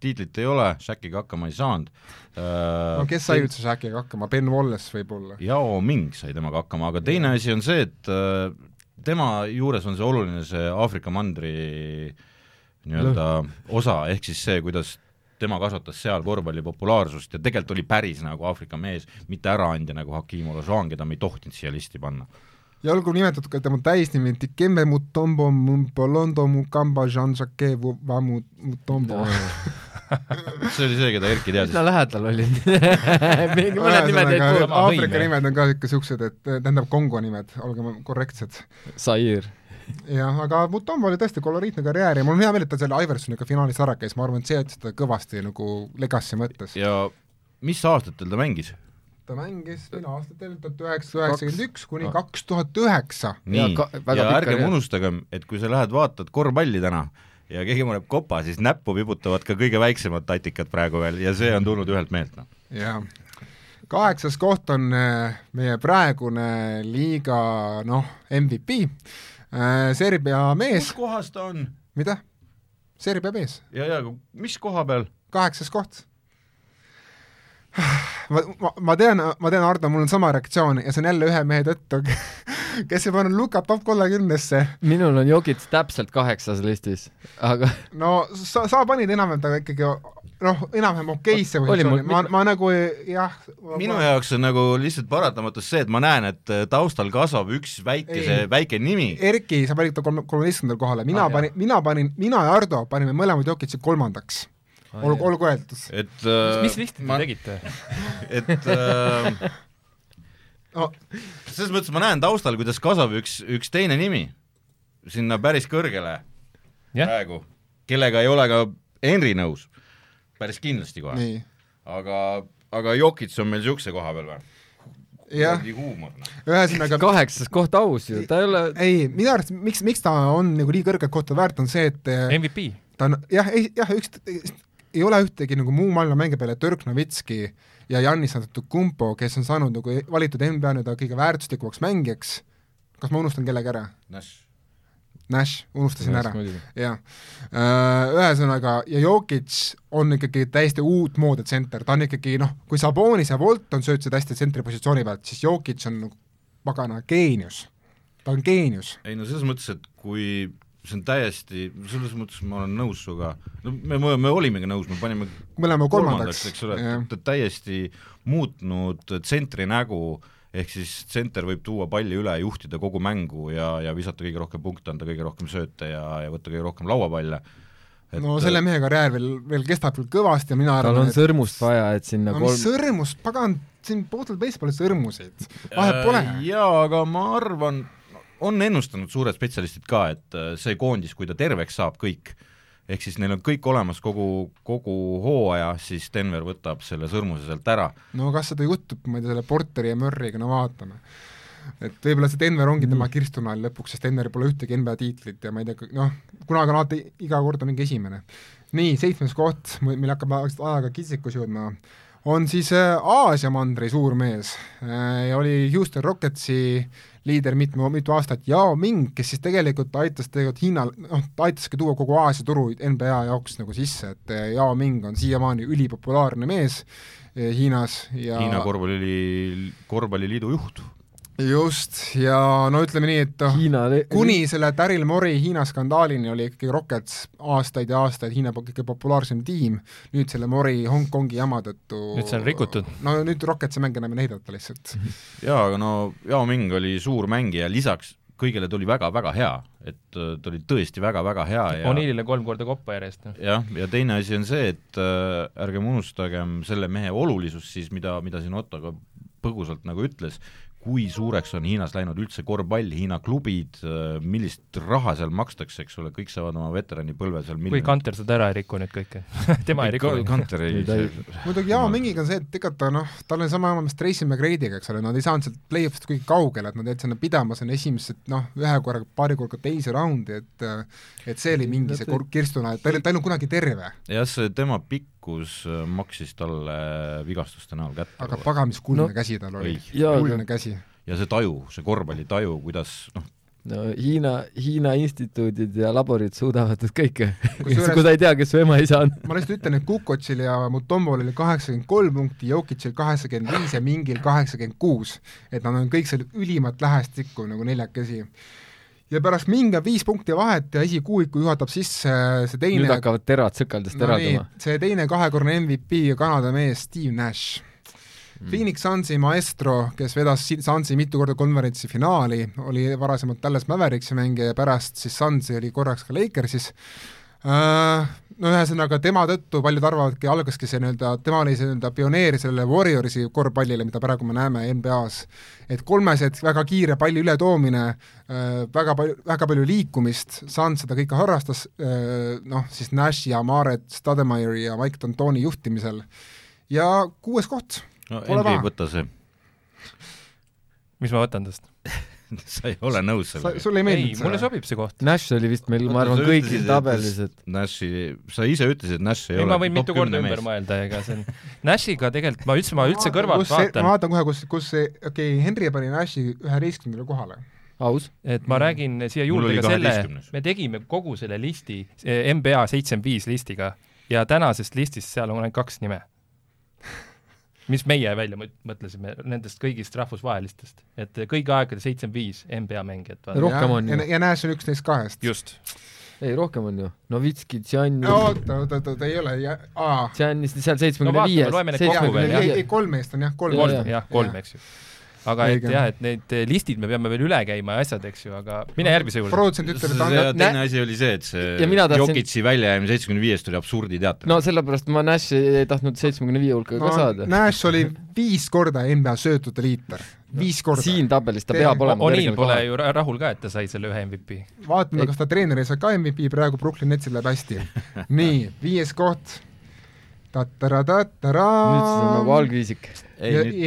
[SPEAKER 3] tiitlit ei ole , Shakiga hakkama ei saanud . Äh,
[SPEAKER 1] no kes sai ? üldse Shackiga hakkama , Ben Wallace võib-olla .
[SPEAKER 3] Yao Ming sai temaga hakkama , aga teine asi on see , et äh, tema juures on see oluline , see Aafrika mandri äh, nii-öelda osa , ehk siis see , kuidas tema kasvatas seal korvpalli populaarsust ja tegelikult oli päris nagu Aafrika mees , mitte äraandja nagu Hakim Olajuwon , keda me ei tohtinud siia listi panna .
[SPEAKER 1] ja olgu nimetatud ka tema täisnimi , Dikembe Mutombo Mumpolondo Mukamba Jean-Jacques Vamu Mutombo .
[SPEAKER 3] see oli see , keda Erki teadis
[SPEAKER 2] üsna . lähedal oli . mingi mõned nimed jäid
[SPEAKER 1] ühesõnaga ,
[SPEAKER 2] puudu .
[SPEAKER 1] Aafrika
[SPEAKER 4] võim, jah.
[SPEAKER 1] nimed on ka ikka siuksed , et eh, tähendab Kongo nimed , olgem korrektsed .
[SPEAKER 2] Sair .
[SPEAKER 1] jah , aga Mutombo oli tõesti koloriitne karjäär ja mul on hea meel , et ta selle Iversoniga finaalis ära käis , ma arvan , et see aitas teda kõvasti nagu legacy mõttes .
[SPEAKER 3] ja mis aastatel ta mängis ?
[SPEAKER 1] ta mängis minu aastatel tuhat üheksasada üheksakümmend üks kuni kaks tuhat üheksa .
[SPEAKER 2] Ja
[SPEAKER 3] nii ,
[SPEAKER 2] ka-
[SPEAKER 3] ja,
[SPEAKER 2] väga
[SPEAKER 3] ja
[SPEAKER 2] pikk
[SPEAKER 3] ärgem
[SPEAKER 2] karjäär.
[SPEAKER 3] unustagem , et kui sa lähed vaatad korvpalli täna ja keegi paneb kopa , siis näppu vibutavad ka kõige väiksemad tatikad praegu veel ja see on tulnud ühelt meelt , noh .
[SPEAKER 1] jah . kaheksas koht on äh, meie praegune liiga noh , MVP , Eh, Serbia mees ,
[SPEAKER 3] kohas ta on ?
[SPEAKER 1] mida ? Serbia mees
[SPEAKER 3] ja , ja mis koha peal ?
[SPEAKER 1] kaheksas koht . ma , ma , ma tean , ma tean , Ardo , mul on sama reaktsioon ja see on jälle ühe mehe tõttu , kes ei pannud Luka top kolmekümnesse .
[SPEAKER 2] minul on Jokits täpselt kaheksas listis , aga
[SPEAKER 1] no sa , sa panid enam-vähem taga ikkagi noh , enam-vähem okeisse
[SPEAKER 2] Oli mul
[SPEAKER 1] positsiooni , ma , ma nagu ei- jah .
[SPEAKER 3] minu jaoks on nagu lihtsalt paratamatus see , et ma näen , et äh, taustal kasvab üks väikese
[SPEAKER 1] Ei. ,
[SPEAKER 3] väike nimi .
[SPEAKER 1] Erki , sa panid ta kolm- , kolmeteistkümnendal kohale , mina
[SPEAKER 4] Ah,
[SPEAKER 1] ah, panin , mina panin , mina ja Ardo panime mõlemad Jokitsi kolmandaks ah, . olgu , olgu öeldud .
[SPEAKER 3] et äh,
[SPEAKER 4] mis listi te tegite ?
[SPEAKER 3] et äh,
[SPEAKER 1] no
[SPEAKER 3] selles mõttes ma näen taustal , kuidas kasvab üks , üks teine nimi sinna päris kõrgele
[SPEAKER 4] Jah.
[SPEAKER 3] praegu , kellega ei ole ka Henri nõus , päris kindlasti kohe ,
[SPEAKER 1] nii ,
[SPEAKER 3] aga , aga Jokits on meil niisuguse koha peal või ?
[SPEAKER 1] jah ,
[SPEAKER 3] huumor . noh.
[SPEAKER 1] ühesõnaga
[SPEAKER 2] kaheksas koht aus ju , ta ei ole ,
[SPEAKER 1] ei , minu arust , miks , miks ta on nagu nii kõrget kohta väärt , on see , et eh,
[SPEAKER 4] MVP ,
[SPEAKER 1] ta on jah , jah , üks , ei ole ühtegi nagu muu maailma mängija peale Dirk Nowitzki ja Janis Antetokounmpo , kes on saanud nagu valitud NBA nii-öelda kõige väärtuslikumaks mängijaks , kas ma unustan kellegi ära ? Nash , unustasin ära , jah . Ühesõnaga , ja Jokic on ikkagi täiesti uutmoodi tsenter , ta on ikkagi noh , kui Sabonis ja Bolton söötsid hästi tsentri positsiooni pealt , siis Jokic on nagu pagana geenius , ta on geenius .
[SPEAKER 3] ei no selles mõttes , et kui see on täiesti , selles mõttes ma olen nõus sinuga , no me , me olimegi nõus , me panime
[SPEAKER 1] mõlema kolmandaks,
[SPEAKER 3] kolmandaks , eks ole
[SPEAKER 1] jah. ,
[SPEAKER 3] ta täiesti muutnud tsentri nägu , ehk siis tsenter võib tuua palli üle , juhtida kogu mängu ja , ja visata kõige rohkem punkte , anda kõige rohkem sööte ja , ja võtta kõige rohkem lauapalle .
[SPEAKER 1] no selle mehe karjäär veel , veel kestab küll kõvasti ja mina
[SPEAKER 2] äh, tal
[SPEAKER 1] arvan ,
[SPEAKER 2] on
[SPEAKER 1] et
[SPEAKER 2] sõrmust vaja , et sinna
[SPEAKER 1] no mis
[SPEAKER 2] kolm ,
[SPEAKER 1] sõrmus , pagan , siin Portal Base pole sõrmuseid , vahet pole .
[SPEAKER 3] Äh, jaa , aga ma arvan , on ennustanud suured spetsialistid ka , et äh, see koondis , kui ta terveks saab kõik , ehk siis neil on kõik olemas kogu , kogu hooaja , siis Denver võtab selle sõrmuse sealt ära .
[SPEAKER 1] no kas seda juhtub , ma ei tea , selle Porteri ja Murry'ga , no vaatame . et võib-olla see Denver ongi tema kirstunael lõpuks , sest Denveril pole ühtegi NBA tiitlit ja ma ei tea , noh , kunagi on alati , iga kord on mingi esimene . nii , seitsmes koht , meil hakkab aeg- ajaga kitsikus jõudma , on siis äh, Aasia mandri suur mees äh, ja oli Houston Rocketsi liider mitme , mitu aastat , Yao Ming , kes siis tegelikult aitas tegelikult Hiinal , noh , ta aitaski tuua kogu Aasia turu NBA jaoks nagu sisse , et äh, Yao Ming on siiamaani ülipopulaarne mees eh, Hiinas ja
[SPEAKER 3] Hiina korvpalli , korvpalliliidu juht .
[SPEAKER 1] just , ja no ütleme nii , et noh ,
[SPEAKER 2] Hiina le-
[SPEAKER 1] kuni selle Daryl Morey Hiina skandaalini oli ikkagi Rockets aastaid ja aastaid Hiina po- kõige populaarsem tiim , nüüd selle Morey Hongkongi jama tõttu
[SPEAKER 4] Nüüd see on rikutud.
[SPEAKER 1] no nüüd Rocketsi mänge enam ei näidata lihtsalt .
[SPEAKER 3] jaa , aga no Yao Ming oli suur mängija , lisaks kõigele ta oli väga-väga hea , et äh, ta oli tõesti väga-väga hea ja
[SPEAKER 4] O'Neillile kolm korda koppa järjest , noh .
[SPEAKER 3] jah , ja teine asi on see , et äh, ärgem unustagem selle mehe olulisust siis , mida , mida siin Otto ka põgusalt nagu ütles , kui suureks on Hiinas läinud üldse korvpall, Hiina klubid , millist raha seal makstakse , eks ole , kõik saavad oma veteranipõlve seal
[SPEAKER 4] kui Kanter seda ära ei riku nüüd kõike . tema ei riku .
[SPEAKER 3] Kanter ei
[SPEAKER 2] Ei, ta ei- ,
[SPEAKER 1] muidugi Jaan Mingiga on see , et ega ta noh , tal oli sama jaama , mis Tracy McGrady'ga , eks ole , nad ei saanud sealt play-off'ist kuigi kaugele , et nad jäid sinna pidama sinna esimesse , noh , ühe korraga , paari korraga teise raundi , et et see oli mingi see kor- kirstuna , et ta oli , ta ei olnud kunagi terve ,
[SPEAKER 3] jah , see tema pikkus äh, maksis talle äh, vigastuste näol kätte
[SPEAKER 1] aga . pagan , mis kuldne
[SPEAKER 2] No.
[SPEAKER 1] no, käsi tal oli
[SPEAKER 3] Oi. .
[SPEAKER 2] Jaa, aga-
[SPEAKER 1] kuldne käsi .
[SPEAKER 3] ja see taju , see korvpallitaju , kuidas noh ,
[SPEAKER 2] no Hiina , Hiina instituudid ja laborid suudavad nüüd kõike ,
[SPEAKER 1] Kusjuures-
[SPEAKER 2] kui sa ei tea , kes su ema-isa on .
[SPEAKER 1] ma lihtsalt ütlen , et Kukotšil ja Mutombol oli kaheksakümmend kolm punkti , Jokicil kaheksakümmend viis ja Mingil kaheksakümmend kuus . et nad on kõik seal ülimalt lähestikku nagu neljakesi . ja pärast Ming on viis punkti vahet ja esikuuiku juhatab sisse äh, see teine
[SPEAKER 2] nüüd hakkavad terad sõkaldest
[SPEAKER 1] no nii
[SPEAKER 2] teraduma .,
[SPEAKER 1] see teine kahekordne MVP ja Kanada mees Steve Nash . Phoenix Sunsi maestro , kes vedas si- Sunsi mitu korda konverentsi finaali , oli varasemalt Dallas Mavericksi mängija ja pärast siis Sunsi oli korraks ka Lakersis . No ühesõnaga tema tõttu paljud arvavadki , algaski see nii-öelda , tema oli see nii-öelda pioneer sellele Warriorsi korvpallile , mida praegu me näeme NBA-s . et kolmesed , väga kiire palli ületoomine , Äh, väga palju , väga palju liikumist , Suns seda kõike harrastas , noh siis Nash ja Maret Stademeieri ja Mike D'Antoni juhtimisel ja kuues koht ,
[SPEAKER 3] no
[SPEAKER 1] Pole
[SPEAKER 3] NBA
[SPEAKER 1] paha.
[SPEAKER 3] võta see ,
[SPEAKER 4] mis ma võtan tast ?
[SPEAKER 3] sa ei ole nõus
[SPEAKER 1] sa ,
[SPEAKER 3] sellega .
[SPEAKER 1] sulle ei
[SPEAKER 4] ei ,
[SPEAKER 1] meeldinud
[SPEAKER 4] mulle ? sobib see koht .
[SPEAKER 2] Nash oli vist meil , ma
[SPEAKER 3] Oota,
[SPEAKER 2] arvan ,
[SPEAKER 3] sa
[SPEAKER 2] kõigil
[SPEAKER 3] ütlesid, et-
[SPEAKER 2] tabelis , et
[SPEAKER 3] Nashi , sa ise ütlesid , et Nash ei
[SPEAKER 4] ei ,
[SPEAKER 3] ole
[SPEAKER 4] ma võin mitu korda ümber mõelda , ega see on , Nashiga tegelikult ma üldse , ma üldse kõrvalt
[SPEAKER 1] ma
[SPEAKER 4] vaatan ,
[SPEAKER 1] vaatan kohe , kus , kus see , okei okay, , Henry pani Nashi üheteistkümnendale kohale .
[SPEAKER 2] aus .
[SPEAKER 4] et ma räägin siia juurde
[SPEAKER 3] oli
[SPEAKER 4] ka selle
[SPEAKER 3] 12.,
[SPEAKER 4] me tegime kogu selle listi , NBA seitsekümmend viis listiga ja tänasest listist seal on ainult kaks nime . mis meie välja mõt- mõtlesime nendest kõigist rahvusvahelistest , et kõigi aegade seitsekümmend viis NBA mängijat .
[SPEAKER 2] No Rohkem on ju.
[SPEAKER 1] ju . ja Nash on üks neist kahest .
[SPEAKER 4] just .
[SPEAKER 2] ei , rohkem on ju . Novitski , Tšan ,
[SPEAKER 1] oota , oota , oota , ei ole , aa .
[SPEAKER 2] Tšanist seal
[SPEAKER 4] No
[SPEAKER 2] seitsmekümne
[SPEAKER 4] vaatame,
[SPEAKER 2] viies .
[SPEAKER 4] loeme need kokku veel, jah.
[SPEAKER 1] ei , ei , kolm meest on jah , kolm
[SPEAKER 2] Kolm,
[SPEAKER 1] meest.
[SPEAKER 4] kolm , jah , kolm , eks ju . aga et
[SPEAKER 1] Õige.
[SPEAKER 4] jah , et need eh, listid me peame veel üle käima ja asjad , eks ju , aga mine järgmise juurde .
[SPEAKER 1] produtsent ütleb , et
[SPEAKER 3] ja
[SPEAKER 1] on
[SPEAKER 3] teine asi oli see , et see
[SPEAKER 2] Ja mina tahtsin-
[SPEAKER 3] Jokitsi väljajäämine seitsmekümne viiest oli absurditeater .
[SPEAKER 2] no sellepärast ma Nashi ei tahtnud seitsmekümne viie hulka ka saada .
[SPEAKER 1] Nash oli viis korda NBA söötute liiter , viis korda .
[SPEAKER 2] siin tabelis ta
[SPEAKER 1] Tee-
[SPEAKER 2] peab olema
[SPEAKER 4] O'Neal Oh, pole . ju ra- rahul ka , et ta sai selle ühe MVP .
[SPEAKER 1] vaatame ,
[SPEAKER 2] Ei.
[SPEAKER 1] kas ta treener ei saa ka MVP , praegu Brooklyn Netsil läheb hästi . nii , viis koht .
[SPEAKER 2] nüüd siis on nagu
[SPEAKER 1] ja ,
[SPEAKER 2] algviisik .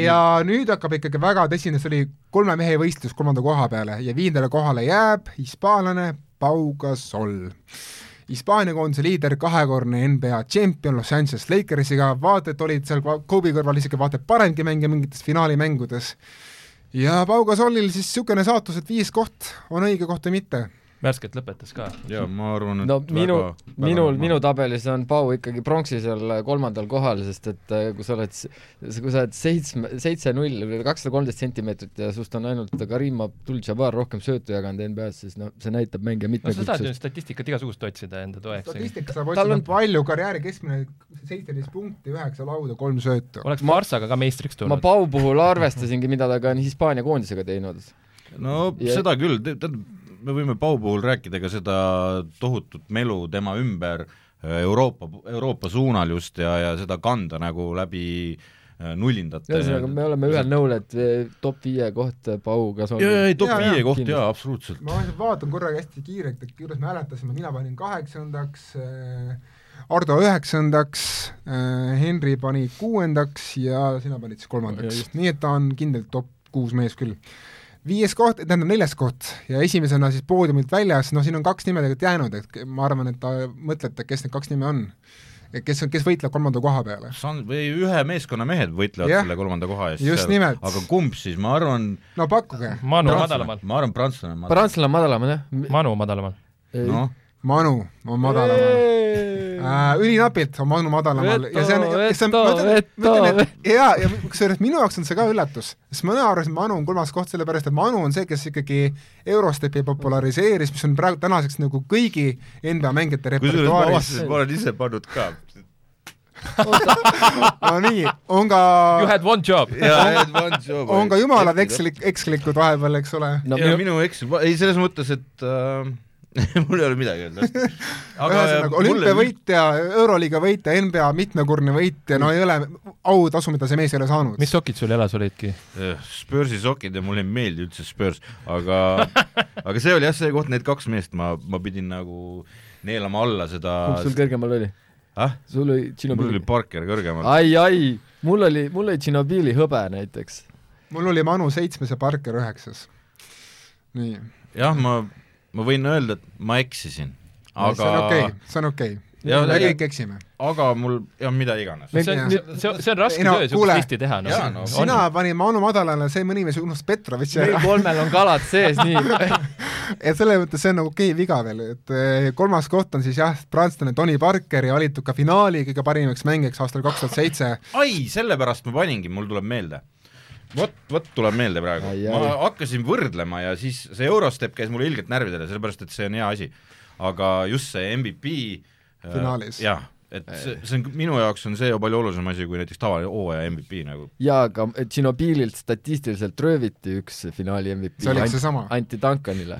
[SPEAKER 1] ja nüüd hakkab ikkagi väga tõsine , see oli kolme mehe võistlus kolmanda koha peale ja viiendale kohale jääb hispaanlane Pau Gasol . Hispaania koondise liider , kahekordne NBA tšempion Los Angeles Lakersiga , vaata et olid seal Kobe kõrval isegi vaata et paremgi mängija mingites finaalimängudes . ja Pau Gasolil siis niisugune saatus , et viis koht on õige koht või mitte .
[SPEAKER 4] värskelt lõpetas ka .
[SPEAKER 3] ja ma arvan , et
[SPEAKER 2] no minu
[SPEAKER 3] väga, , väga
[SPEAKER 2] minul ,
[SPEAKER 3] normaalne.
[SPEAKER 2] minu tabelis on Pau ikkagi pronksi seal kolmandal kohal , sest et äh, kui sa oled , kui sa oled seitsme , seitse-null või kakssada kolmteist sentimeetrit ja sinust on ainult Karim Abdul-Jabbar rohkem söötu jaganud NBA-s , siis noh , see näitab mängija
[SPEAKER 4] no sa saad ju
[SPEAKER 2] mitmekülgsust .
[SPEAKER 4] statistikat igasugust otsida enda toeks .
[SPEAKER 1] statistika saab
[SPEAKER 2] Tal
[SPEAKER 1] otsida
[SPEAKER 2] on-
[SPEAKER 1] on... palju , karjääri keskmine seitseteist punkti , üheksa lauda , kolm söötu .
[SPEAKER 4] oleks Marsaga ka meistriks
[SPEAKER 2] ma
[SPEAKER 4] tulnud .
[SPEAKER 2] Pau puhul arvestasingi , mida ta ka on Hispaania koondisega teinud .
[SPEAKER 3] no
[SPEAKER 2] Ja-
[SPEAKER 3] ja... seda küll , tead , me võime Pau puhul rääkida ka seda tohutut melu tema ümber äh, Euroopa , Euroopa suunal just ja , ja seda kanda nagu läbi äh, nullindate .
[SPEAKER 2] ühesõnaga , me oleme ühel nõul , et eh, top viie koht eh, Pau kas on
[SPEAKER 3] ja , ja ei , top
[SPEAKER 1] Jaa, jaa,
[SPEAKER 3] viie koht
[SPEAKER 2] kindlasti.
[SPEAKER 3] jaa , absoluutselt .
[SPEAKER 1] ma lihtsalt vaatan korraga hästi kiirelt , et kuidas me hääletasime , mina panin kaheksandaks äh, , Ardo üheksandaks äh, , Henri pani kuuendaks ja sina panid siis kolmandaks . nii et ta on kindlalt top kuus mees küll . viies koht , tähendab neljas koht ja esimesena siis poodiumilt väljas , noh siin on kaks nime tegelikult jäänud , et ma arvan , et ta mõtlete , kes need kaks nime on . kes on , kes võitleb kolmanda koha peale .
[SPEAKER 3] San- , või ühe meeskonna mehed võitlevad
[SPEAKER 1] Jah.
[SPEAKER 3] selle kolmanda koha eest .
[SPEAKER 1] Just nimelt.
[SPEAKER 3] aga kumb siis , ma arvan
[SPEAKER 1] no pakkuge ,
[SPEAKER 4] Manu madalamal ,
[SPEAKER 3] ma arvan prantslane on madalamal .
[SPEAKER 2] prantslane on madalamal jah . eh,
[SPEAKER 4] Manu madalamal .
[SPEAKER 3] noh ,
[SPEAKER 1] Manu on madalamal . äh, ülinapilt on Manu madalamal
[SPEAKER 2] Veto,
[SPEAKER 1] ja see on , see on , ma
[SPEAKER 2] veto,
[SPEAKER 1] ütlen , ma
[SPEAKER 2] veto,
[SPEAKER 1] ütlen , et jaa , ja kusjuures minu jaoks on see ka üllatus , sest mina arvasin , et Manu on kolmas koht , sellepärast et Manu on see , kes ikkagi Eurostepi populariseeris , mis on praegu tänaseks nagu kõigi NBA mängijate
[SPEAKER 3] kusjuures ma
[SPEAKER 1] repertuaaris .
[SPEAKER 3] avastasin , et ma olen ise pannud ka .
[SPEAKER 1] no nii , on ka ,
[SPEAKER 4] You had one job .
[SPEAKER 1] on ka jumalad ekslik , ekslikud vahepeal , eks ole .
[SPEAKER 2] no
[SPEAKER 3] ja
[SPEAKER 2] minu ,
[SPEAKER 3] minu eks , ei selles mõttes , et äh, mul ei ole midagi öelda .
[SPEAKER 1] ühesõnaga , olümpiavõitja , Euroliiga võitja , NBA mitmekordne võitja , no ei ole autasu , mida see mees ei ole saanud .
[SPEAKER 4] mis sokid sul jalas olidki ?
[SPEAKER 3] Spursi sokid ja mulle ei meeldi üldse Spurs , aga aga see oli jah see koht , need kaks meest , ma , ma pidin nagu neelama alla seda
[SPEAKER 2] kumb sul kõrgemal oli ?
[SPEAKER 3] ah?
[SPEAKER 2] sul oli
[SPEAKER 3] mul
[SPEAKER 2] Tšinobili
[SPEAKER 3] oli ? Parker kõrgemal .
[SPEAKER 2] ai , ai , mul oli , mul oli Tšinobili hõbe näiteks .
[SPEAKER 1] mul oli Manu seitsmes ja Parker üheksas . nii ,
[SPEAKER 3] jah , ma , ma võin öelda , et ma eksisin ,
[SPEAKER 1] see on
[SPEAKER 3] aga ,
[SPEAKER 1] okei okay, , see on okei
[SPEAKER 3] Jah,
[SPEAKER 1] okay. . me
[SPEAKER 3] jah.
[SPEAKER 1] kõik eksime .
[SPEAKER 3] aga mul , jah , mida iganes .
[SPEAKER 2] Me-
[SPEAKER 4] see on , see on , see on raske
[SPEAKER 1] Ei no,
[SPEAKER 4] töö
[SPEAKER 1] kuule.
[SPEAKER 4] sihukest listi teha ,
[SPEAKER 3] Jaa, no,
[SPEAKER 4] noh .
[SPEAKER 1] sina panid Manu madalale , see mõni mees unustas Petrovitši
[SPEAKER 2] meil
[SPEAKER 1] ära .
[SPEAKER 2] kolmel on kalad sees , nii .
[SPEAKER 1] et selles mõttes see on nagu okei okay, viga veel , et eh, kolmas koht on siis jah , prantslane Tony Parker ja valitud ka finaali kõige parimaks mängijaks aastal kaks tuhat seitse .
[SPEAKER 3] ai , sellepärast ma paningi , mul tuleb meelde . vot , vot tuleb meelde praegu
[SPEAKER 2] Ai, . ai.
[SPEAKER 3] ma hakkasin võrdlema ja siis see Eurostep käis mulle ilgelt närvidele , sellepärast et see on hea asi . aga just see MVP äh,
[SPEAKER 1] Finaalis.
[SPEAKER 3] jah , et see , see on minu jaoks on see ju palju olulisem asi kui näiteks tavaline hooaja MVP nagu .
[SPEAKER 2] jaa , aga eh, Tšinobililt statistiliselt rööviti üks finaali MVP .
[SPEAKER 1] See oli seesama.
[SPEAKER 2] anti Duncanile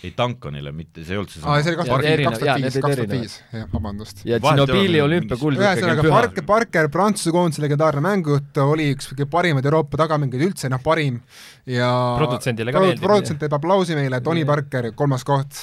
[SPEAKER 3] ei Duncanile mitte , see ei olnud
[SPEAKER 1] aa , see
[SPEAKER 3] seesama .
[SPEAKER 1] oli kaks
[SPEAKER 2] Jaa,
[SPEAKER 1] tuhat viis ,
[SPEAKER 2] erinev-
[SPEAKER 1] kaks
[SPEAKER 2] jaa,
[SPEAKER 1] tuhat viis ,
[SPEAKER 2] need
[SPEAKER 1] kaks
[SPEAKER 2] olid
[SPEAKER 1] tuhat
[SPEAKER 2] erinevad.
[SPEAKER 1] viis , jah , vabandust .
[SPEAKER 2] ja
[SPEAKER 3] Vahet ei ole,
[SPEAKER 2] Tšinobili
[SPEAKER 3] mingi-
[SPEAKER 2] olümpiakuld
[SPEAKER 1] ühesõnaga ,
[SPEAKER 2] ikkagi on
[SPEAKER 1] Parker , Parker , Prantsuse koondise legendaarne mängijut , oli üks kõige parimaid Euroopa tagamängijaid üldse , noh parim ja
[SPEAKER 4] Produtsendile ka
[SPEAKER 1] produ-
[SPEAKER 4] meeldib.
[SPEAKER 1] produtsent teeb aplausi meile , Tony Parker , kolmas koht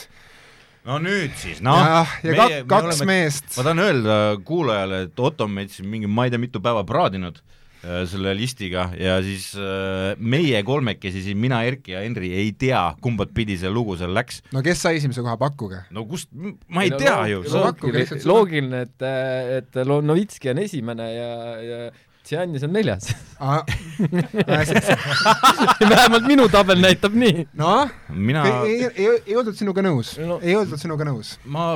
[SPEAKER 3] no nüüd siis ,
[SPEAKER 1] no, .
[SPEAKER 3] noh
[SPEAKER 1] ja, ja meie, kak, kaks oleme... meest
[SPEAKER 3] ma , tahan öelda kuulajale , et Otto on meid siin mingi ma ei tea mitu päeva praadinud äh, selle listiga ja siis äh, meie kolmekesi siin , mina , Erki ja Henri ei tea , kumbat pidi see lugu seal läks .
[SPEAKER 1] no kes sai esimese koha , pakkuge .
[SPEAKER 3] no kust , ma ei tea ju .
[SPEAKER 1] sa- Pakkuge
[SPEAKER 2] loogiline
[SPEAKER 1] lihtsalt , seda.
[SPEAKER 2] loogiline , et , et Lovnovitski on esimene ja , ja Tšiannis on neljas .
[SPEAKER 1] Ah.
[SPEAKER 2] vähemalt minu tabel näitab nii .
[SPEAKER 1] noh ,
[SPEAKER 3] mina ,
[SPEAKER 1] ei , ei , ei olnud sinuga nõus
[SPEAKER 2] No.
[SPEAKER 1] no. , ei olnud sinuga nõus .
[SPEAKER 3] ma ,